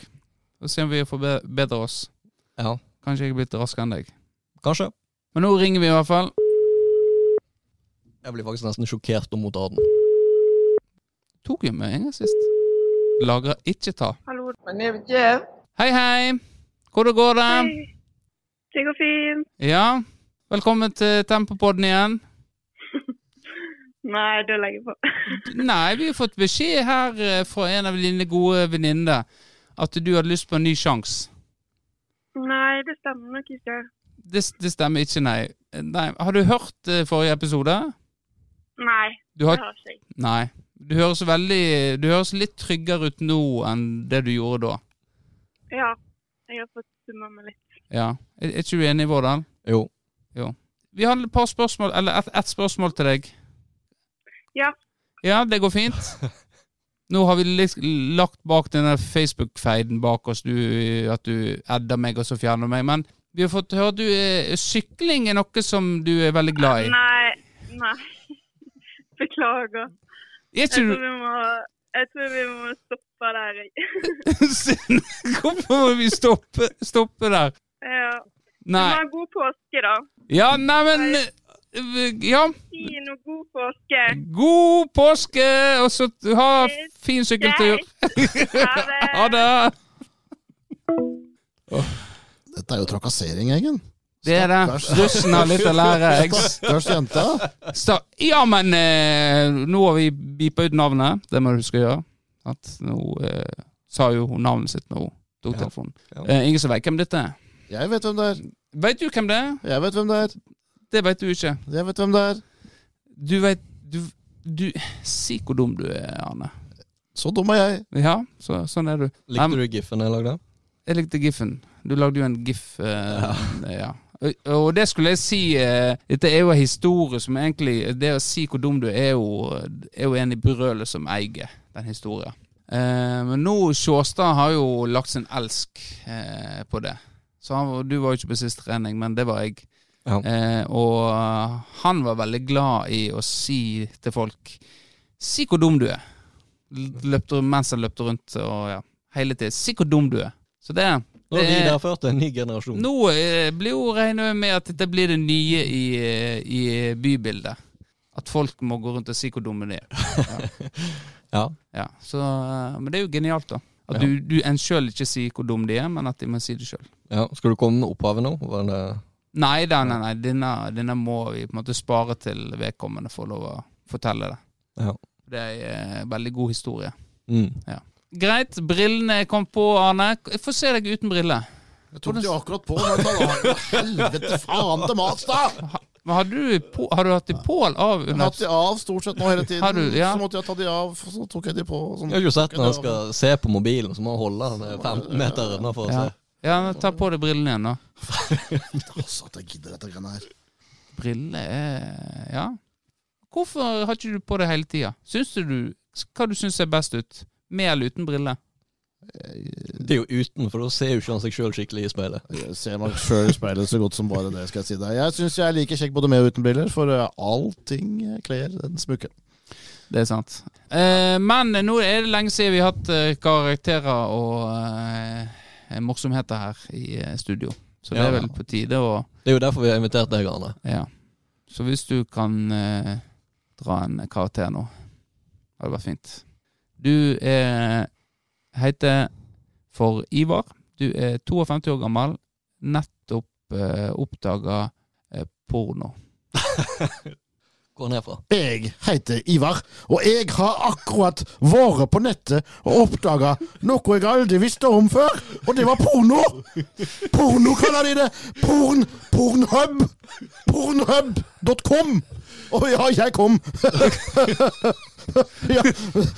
Speaker 2: Og se om vi forbedrer oss.
Speaker 3: Ja,
Speaker 2: Kanskje jeg er blitt raskere enn deg.
Speaker 3: kanskje.
Speaker 2: Men nå ringer vi i hvert fall.
Speaker 3: Jeg blir faktisk nesten sjokkert om hun tar den.
Speaker 2: Tok jo med en gang sist. Lagra ikke ta.
Speaker 6: Hallo, my name is Jeff.
Speaker 2: Hei, hei! Hvordan går det?
Speaker 6: Hei. Det går fint.
Speaker 2: Ja, velkommen til Tempopodden igjen.
Speaker 6: Nei, du legger på.
Speaker 2: Nei, vi har fått beskjed her eh, fra en av dine gode venninner at du hadde lyst på en ny sjanse.
Speaker 6: Nei, det stemmer nok ikke.
Speaker 2: Det, det stemmer ikke, nei. nei. Har du hørt eh, forrige episode?
Speaker 6: Nei,
Speaker 2: Du
Speaker 6: det
Speaker 2: har,
Speaker 6: har jeg ikke.
Speaker 2: nei. Du høres, veldig, du høres litt tryggere ut nå enn det du gjorde da.
Speaker 6: Ja, jeg har fått summa meg litt.
Speaker 2: Ja. Er, er ikke du enig, Vårdal?
Speaker 3: Jo.
Speaker 2: Vi har et par spørsmål, eller ett ett spørsmål til deg.
Speaker 6: Ja.
Speaker 2: Ja, det går fint. Nå har vi litt lagt bak denne Facebook-feiden bak oss, du, at du adder meg og så fjerner meg. Men vi har fått høre at du, eh, sykling er noe som du er veldig glad i.
Speaker 6: Nei, nei. Beklager.
Speaker 2: Er
Speaker 6: Jeg
Speaker 2: ikke
Speaker 6: tror
Speaker 2: du
Speaker 6: vi må, jeg tror vi må stoppe der. jeg.
Speaker 2: Siden- Hvorfor må vi stoppe, stoppe der?
Speaker 6: Ja. Men
Speaker 2: Nei.
Speaker 6: ha en god påske, da.
Speaker 2: Ja, neimen Ja,
Speaker 6: Si noe god påske.
Speaker 2: god påske, og så ha fin sykkeltur. Ha det!
Speaker 4: Dette er jo trakassering, Eggen.
Speaker 2: Det er det.
Speaker 4: Stakkars.
Speaker 2: Russen har litt å lære. Jeg
Speaker 4: Stakkars jenta.
Speaker 2: sta ja, men eh, nå har vi beepa ut navnet. Det må du huske å gjøre. At nå eh, sa jo hun navnet sitt når hun tok
Speaker 3: Ja.
Speaker 2: telefonen.
Speaker 3: Ja.
Speaker 2: Eh, ingen som veit hvem dette er?
Speaker 4: Jeg vet hvem det er.
Speaker 2: Veit du hvem det er?
Speaker 4: Jeg vet hvem det er.
Speaker 2: Det veit du ikke.
Speaker 4: Jeg vet hvem det er.
Speaker 2: Du veit du, du Si hvor dum du er, Arne.
Speaker 4: Så dum er jeg.
Speaker 2: Ja, så, sånn er du. Nei, men-
Speaker 3: Likte du giffen jeg lagde?
Speaker 2: Jeg likte giffen. Du lagde jo en gif. eh, ja. Og- Og det skulle jeg si eh, Dette er jo en historie som egentlig Det å si hvor dum du er, jo, er jo en i brølet som eier den historien. Eh, men nå Sjåstad har jo lagt sin elsk eh, på det. Så han, du var jo ikke på sist trening, men det var jeg.
Speaker 3: Ja.
Speaker 2: Eh, og han var veldig glad i å si til folk Si hvor dum du er. L- Løpte, mens han løpte rundt og ja, hele tiden. Si hvor dum du er. Så det,
Speaker 3: Nå har
Speaker 2: det
Speaker 3: vi
Speaker 2: er-
Speaker 3: derfor til en ny generasjon.
Speaker 2: Nå eh, blir jo regner jeg med at dette blir det nye i, eh, i bybildet. At folk må gå rundt og si hvor dumme de er.
Speaker 3: Ja.
Speaker 2: Ja, så, eh, men det er jo genialt, da. At
Speaker 3: Ja.
Speaker 2: du, du en sjøl ikke sier hvor dum de er, men at de må si det sjøl.
Speaker 3: ja. Skal du komme med opphavet nå? Var det...
Speaker 2: Nei da, nei, nei. Denne, denne må vi på en måte spare til vedkommende får lov å fortelle det.
Speaker 3: Ja.
Speaker 2: Det er eh, veldig god historie.
Speaker 3: Mm.
Speaker 2: Greit, brillene kom på, Arne. Få se deg uten briller.
Speaker 4: Jeg tok det jo akkurat på. Men jeg tar- helvete faen til mas, da!
Speaker 2: Men har du, på, har du hatt de på eller av
Speaker 4: Jeg har hatt
Speaker 2: under?
Speaker 4: de av stort sett nå hele tiden.
Speaker 2: Har du- ja.
Speaker 4: Så måtte jeg ta de av, så tok jeg de på. og Sånn.
Speaker 3: Jeg har jo sett når han skal se på mobilen, så må han holde den 15 meter unna for å
Speaker 2: Ja.
Speaker 3: se.
Speaker 2: Ja, ta på deg brillene igjen, da.
Speaker 4: Altså, at jeg gidder dette greiene her.
Speaker 2: Briller er Ja. Hvorfor har ikke du på det hele tida? Syns du du- Hva du syns ser best ut? Med eller uten briller?
Speaker 3: Det er jo uten, for da ser jo ikke han seg sjøl skikkelig i speilet.
Speaker 4: Jeg ser nok sjøl i speilet så godt som bare det, skal jeg si deg. Jeg syns jeg er like kjekk både med og uten briller, for eh, allting kler den smukken.
Speaker 2: Det er sant. Eh, men nå er det lenge siden vi har hatt eh, karakterer og eh, morsomheter her i eh, studio. Så det
Speaker 3: Ja.
Speaker 2: er vel på tide å
Speaker 3: Det er jo derfor vi har invitert deg, Arne.
Speaker 2: Ja. Så hvis du kan eh, dra en karakter nå, hadde det vært fint. Du er heter for Ivar. Du er 52 år gammel. Nettopp eh, oppdaga eh, porno.
Speaker 3: Gå ned fra.
Speaker 4: Jeg heter Ivar, og jeg har akkurat vært på nettet og oppdaga noe jeg aldri visste om før, og det var porno! Porno kaller de det! Porn, Pornhub! Pornhub.com! Å ja, jeg kom!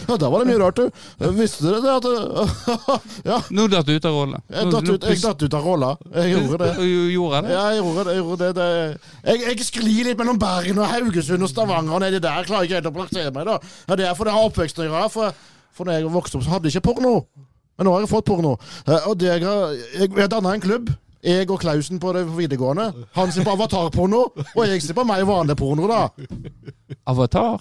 Speaker 4: ja, da var det mye rart, du. Visste dere det? At, ja,
Speaker 2: Nå datt du ut av rollen.
Speaker 4: jeg datt ut, jeg datt ut av rolla. Jeg gjorde det.
Speaker 2: Gjorde jeg det?
Speaker 4: Ja, jeg gjorde det. Jeg, gjorde det, det. jeg, jeg sklir litt mellom Bergen og Haugesund og Stavanger og nedi der. Klarer ikke helt å plassere meg, da. Ja, det er fordi jeg har oppveksten å gjøre. For, for når jeg vokste opp, så hadde jeg ikke porno. Men nå har jeg fått porno. Eh, Og det jeg, har- jeg, jeg danna en klubb. Jeg og Klausen på det videregående. Han ser på avatarporno, og jeg ser på meg vanlig porno, da.
Speaker 2: Avatar?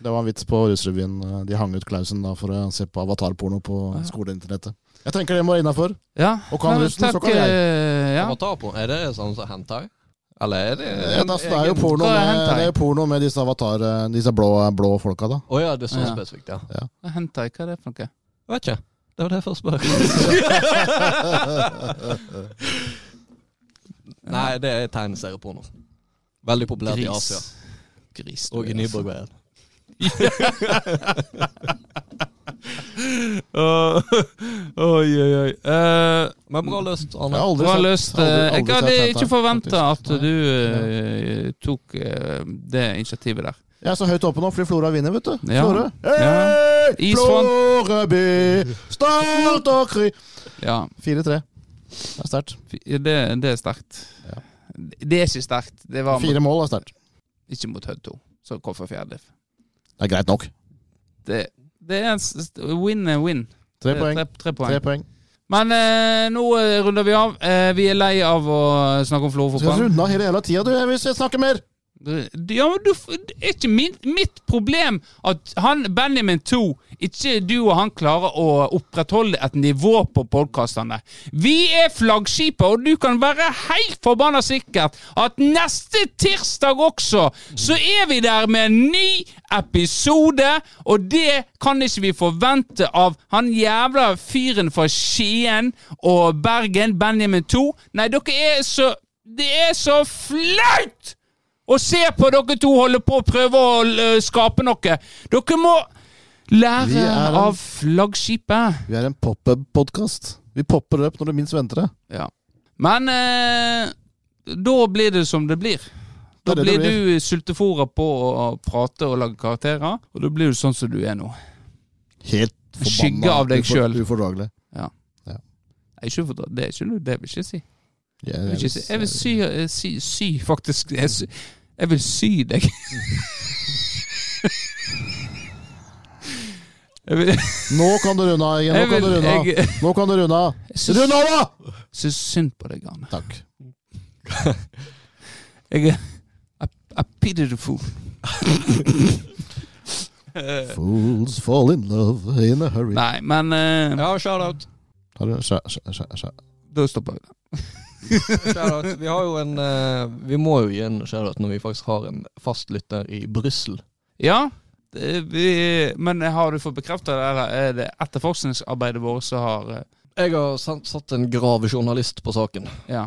Speaker 4: Det var en vits på Russrevyen. eh, De hang ut Klausen da for å se på avatarporno på
Speaker 2: Ja.
Speaker 4: skoleinternettet. Jeg tenker det må være innafor.
Speaker 2: Ja.
Speaker 4: Og kan
Speaker 2: Nei, men
Speaker 4: russen, så
Speaker 2: takk,
Speaker 4: kan jeg.
Speaker 2: eh, Ja.
Speaker 3: Avatar på. Er det sånn som hentai? Eller er det
Speaker 4: Det er jo
Speaker 3: egen-
Speaker 4: porno
Speaker 2: Hva er
Speaker 4: med,
Speaker 2: hentai?
Speaker 4: det er jo porno med disse avatar, eh, disse blå, blå folka, da.
Speaker 3: Å ja, det er sånn
Speaker 2: Ja.
Speaker 3: spesifikt, ja.
Speaker 2: Hentai, hva er det for noe?
Speaker 3: Jeg vet ikke. Det var det jeg først spør. Nei, det er tegneserieporno. Veldig populært i Asia.
Speaker 2: Gris. du,
Speaker 3: Og i
Speaker 2: altså.
Speaker 3: Nyborgveien.
Speaker 2: Åh, Oi, oi, oi. Eh,
Speaker 3: Men bra løst,
Speaker 4: Jeg
Speaker 3: Anne.
Speaker 4: har aldri
Speaker 2: Du har
Speaker 4: sett-
Speaker 2: løst
Speaker 4: aldri-
Speaker 2: eh, Jeg
Speaker 4: aldri
Speaker 2: hadde
Speaker 4: sett
Speaker 2: ikke
Speaker 4: hentai,
Speaker 2: forventa at
Speaker 4: faktisk. Nei.
Speaker 2: du eh, tok eh, det initiativet der.
Speaker 4: Jeg er så høyt oppe nå fordi Flora vinner, vet du.
Speaker 2: Ja.
Speaker 4: Flora.
Speaker 2: Ja.
Speaker 4: Hei,
Speaker 2: Isvann.
Speaker 4: Floreby, stolt og kry.
Speaker 2: Ja,
Speaker 4: 4-3. Det er sterkt.
Speaker 2: fi- det, det er sterkt.
Speaker 4: Ja.
Speaker 2: Det er ikke sterkt. Det var mot,
Speaker 4: Fire mål er sterkt.
Speaker 2: ikke mot Hødd 2, som kom fra fjerdediv.
Speaker 4: Det er greit nok.
Speaker 2: Det, det er en s- win-win.
Speaker 4: Tre
Speaker 2: Det er
Speaker 4: poeng.
Speaker 2: Tre, tre poeng.
Speaker 4: Tre poeng.
Speaker 2: Men eh, nå eh, runder vi av. Eh, vi er lei av å snakke om
Speaker 4: Du skal
Speaker 2: Florø-fotball.
Speaker 4: runde av hele jævla tida, du, hvis jeg snakker mer!
Speaker 2: Du- Ja, men du, f- det er ikke min, mitt problem at han Benjamin 2, ikke du og han, klarer å opprettholde et nivå på podkastene. Vi er flaggskipet, og du kan være helt forbanna sikkert at neste tirsdag også, så er vi der med en ny episode, og det kan ikke vi forvente av han jævla fyren fra Skien og Bergen, Benjamin 2. Nei, dere er så Det er så flaut! Og se på dere to holde på å prøve å eh, skape noe. Dere må
Speaker 4: Vi
Speaker 2: lære
Speaker 4: er en-
Speaker 2: av flaggskipet.
Speaker 4: Vi er en pop-up-podkast. Vi popper opp når du minst venter det.
Speaker 2: Ja. Men eh, da blir det som det blir. Da
Speaker 4: Det er det det
Speaker 2: blir du sultefòra på å prate og lage karakterer, og da blir du sånn som du er nå.
Speaker 4: Helt
Speaker 2: Skygge av deg
Speaker 4: ufor-
Speaker 2: selv.
Speaker 4: Ufordragelig.
Speaker 2: Nei, ikke for- det er ikke noe det vil jeg ikke si.
Speaker 4: Jeg,
Speaker 2: Jeg vil, ikke si. Jeg vil sy, eh, sy, sy faktisk jeg, sy, jeg vil sy deg. jeg vil,
Speaker 4: Nå kan du runde av, Eggen. Nå
Speaker 2: jeg
Speaker 4: kan
Speaker 2: vil
Speaker 4: du runde av.
Speaker 2: jeg,
Speaker 4: Nå kan du runde av.
Speaker 2: Syns-
Speaker 4: Rund av, da!
Speaker 2: syns synd på deg, Arne.
Speaker 4: Takk.
Speaker 2: Jeg er I, I pity the fool.
Speaker 4: Fools fall in love in a hurry.
Speaker 2: Nei, men eh,
Speaker 3: Ja, shout-out.
Speaker 4: Har du skjæ, skjæ, skjæ, skjæ.
Speaker 2: da stopper vi det.
Speaker 3: Shout-out. Vi har jo en eh, Vi må jo gi en shout-out når vi faktisk har en fastlytter i Brussel.
Speaker 2: Ja, det, vi, men har du fått bekrefta det, eller er det etterforskningsarbeidet vårt som har eh,
Speaker 3: Jeg har sant- satt en gravejournalist på saken.
Speaker 2: Ja.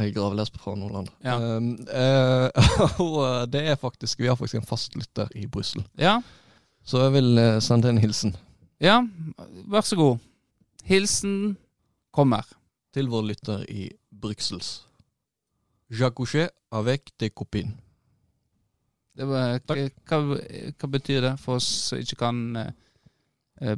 Speaker 3: Jeg er gravlesb fra Nordland.
Speaker 2: Ja.
Speaker 3: Um, eh, og eh, det er faktisk Vi har faktisk en fastlytter i Brussel.
Speaker 2: Ja,
Speaker 3: Så jeg vil eh, sende en hilsen
Speaker 2: ja vær så god. Hilsen kommer.
Speaker 3: til vår lytter i Bruxelles. Jacouché avec des copines.
Speaker 2: Det var, eh, hva, hva betyr det for oss som ikke kan eh, eh,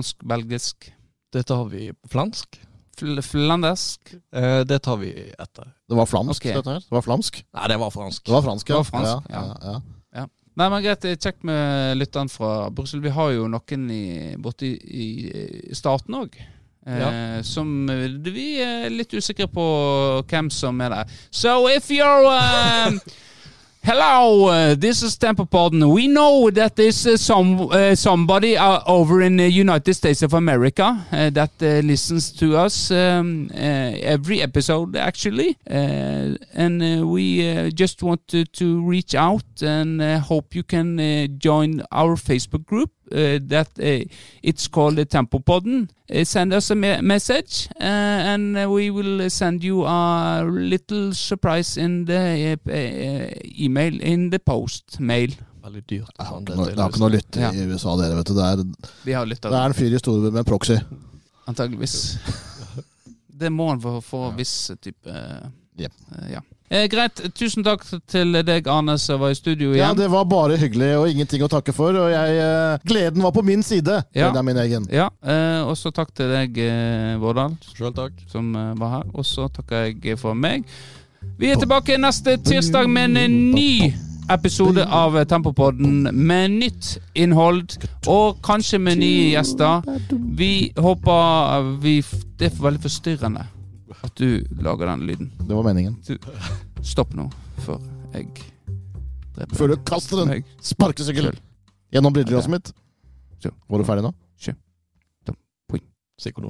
Speaker 2: fransk-belgisk?
Speaker 3: Det tar vi på flansk.
Speaker 2: Fl flandersk?
Speaker 3: Eh, det tar vi etter.
Speaker 4: Det var flamsk,
Speaker 2: Ok.
Speaker 4: dette her. Det var flamsk.
Speaker 3: Nei, det var fransk.
Speaker 4: Det var fransk, ja.
Speaker 2: Det var fransk, ja.
Speaker 4: ja, ja, ja.
Speaker 2: Nei, men greit, det er kjekt med lytteren fra Brussel. Vi har jo noen i, borte i, i staten òg. Eh, Som eh, vi er litt usikre på hvem som er der. So if you're um, Hello, uh, this is Temple Pardon. We know that there's uh, some uh, somebody uh, over in the United States of America uh, that uh, listens to us um, uh, every episode, actually, uh, and uh, we uh, just want to, to reach out and uh, hope you can uh, join our Facebook group. Uh, that uh, it's called the Temple Podden. Uh, send us a me- message, uh, and uh, we will uh, send you a little surprise in the uh, uh, email in the post mail.
Speaker 3: Veldig dyrt.
Speaker 4: Jeg har
Speaker 3: sånn,
Speaker 4: ikke noe-
Speaker 3: det
Speaker 4: Det har ikke noe å lytte
Speaker 2: Ja.
Speaker 4: i USA, dere, vet du. Det er,
Speaker 2: Vi har lytta
Speaker 4: det er en fyr i Storbritannia med en proxy.
Speaker 2: Antageligvis. Det må han få, få viss type eh,
Speaker 4: Jep.
Speaker 2: eh, ja. Eh, greit. Tusen takk til deg, Arne, som var i studio
Speaker 4: Ja,
Speaker 2: igjen.
Speaker 4: det var bare hyggelig og ingenting å takke for. Og jeg, eh, gleden var på min side.
Speaker 2: Ja.
Speaker 4: Den er min egen.
Speaker 2: Ja, eh, Og så takk til deg, eh, Vårdal,
Speaker 3: Sjøl takk.
Speaker 2: som eh, var her. Og så takker jeg for meg. Vi er tilbake neste tirsdag med en eh, ny episode av eh, Tempopodden med nytt innhold og kanskje med nye gjester. Vi håper eh, vi f- Det er veldig forstyrrende at du lager den lyden.
Speaker 4: Det var meningen.
Speaker 2: Stopp nå, for jeg dreper
Speaker 4: Før du kaster den
Speaker 2: meg.
Speaker 4: sparkesykkelen. Gjennom brilleglasset mitt.
Speaker 2: Sure.
Speaker 4: Var du ferdig nå?
Speaker 3: Sikkert noen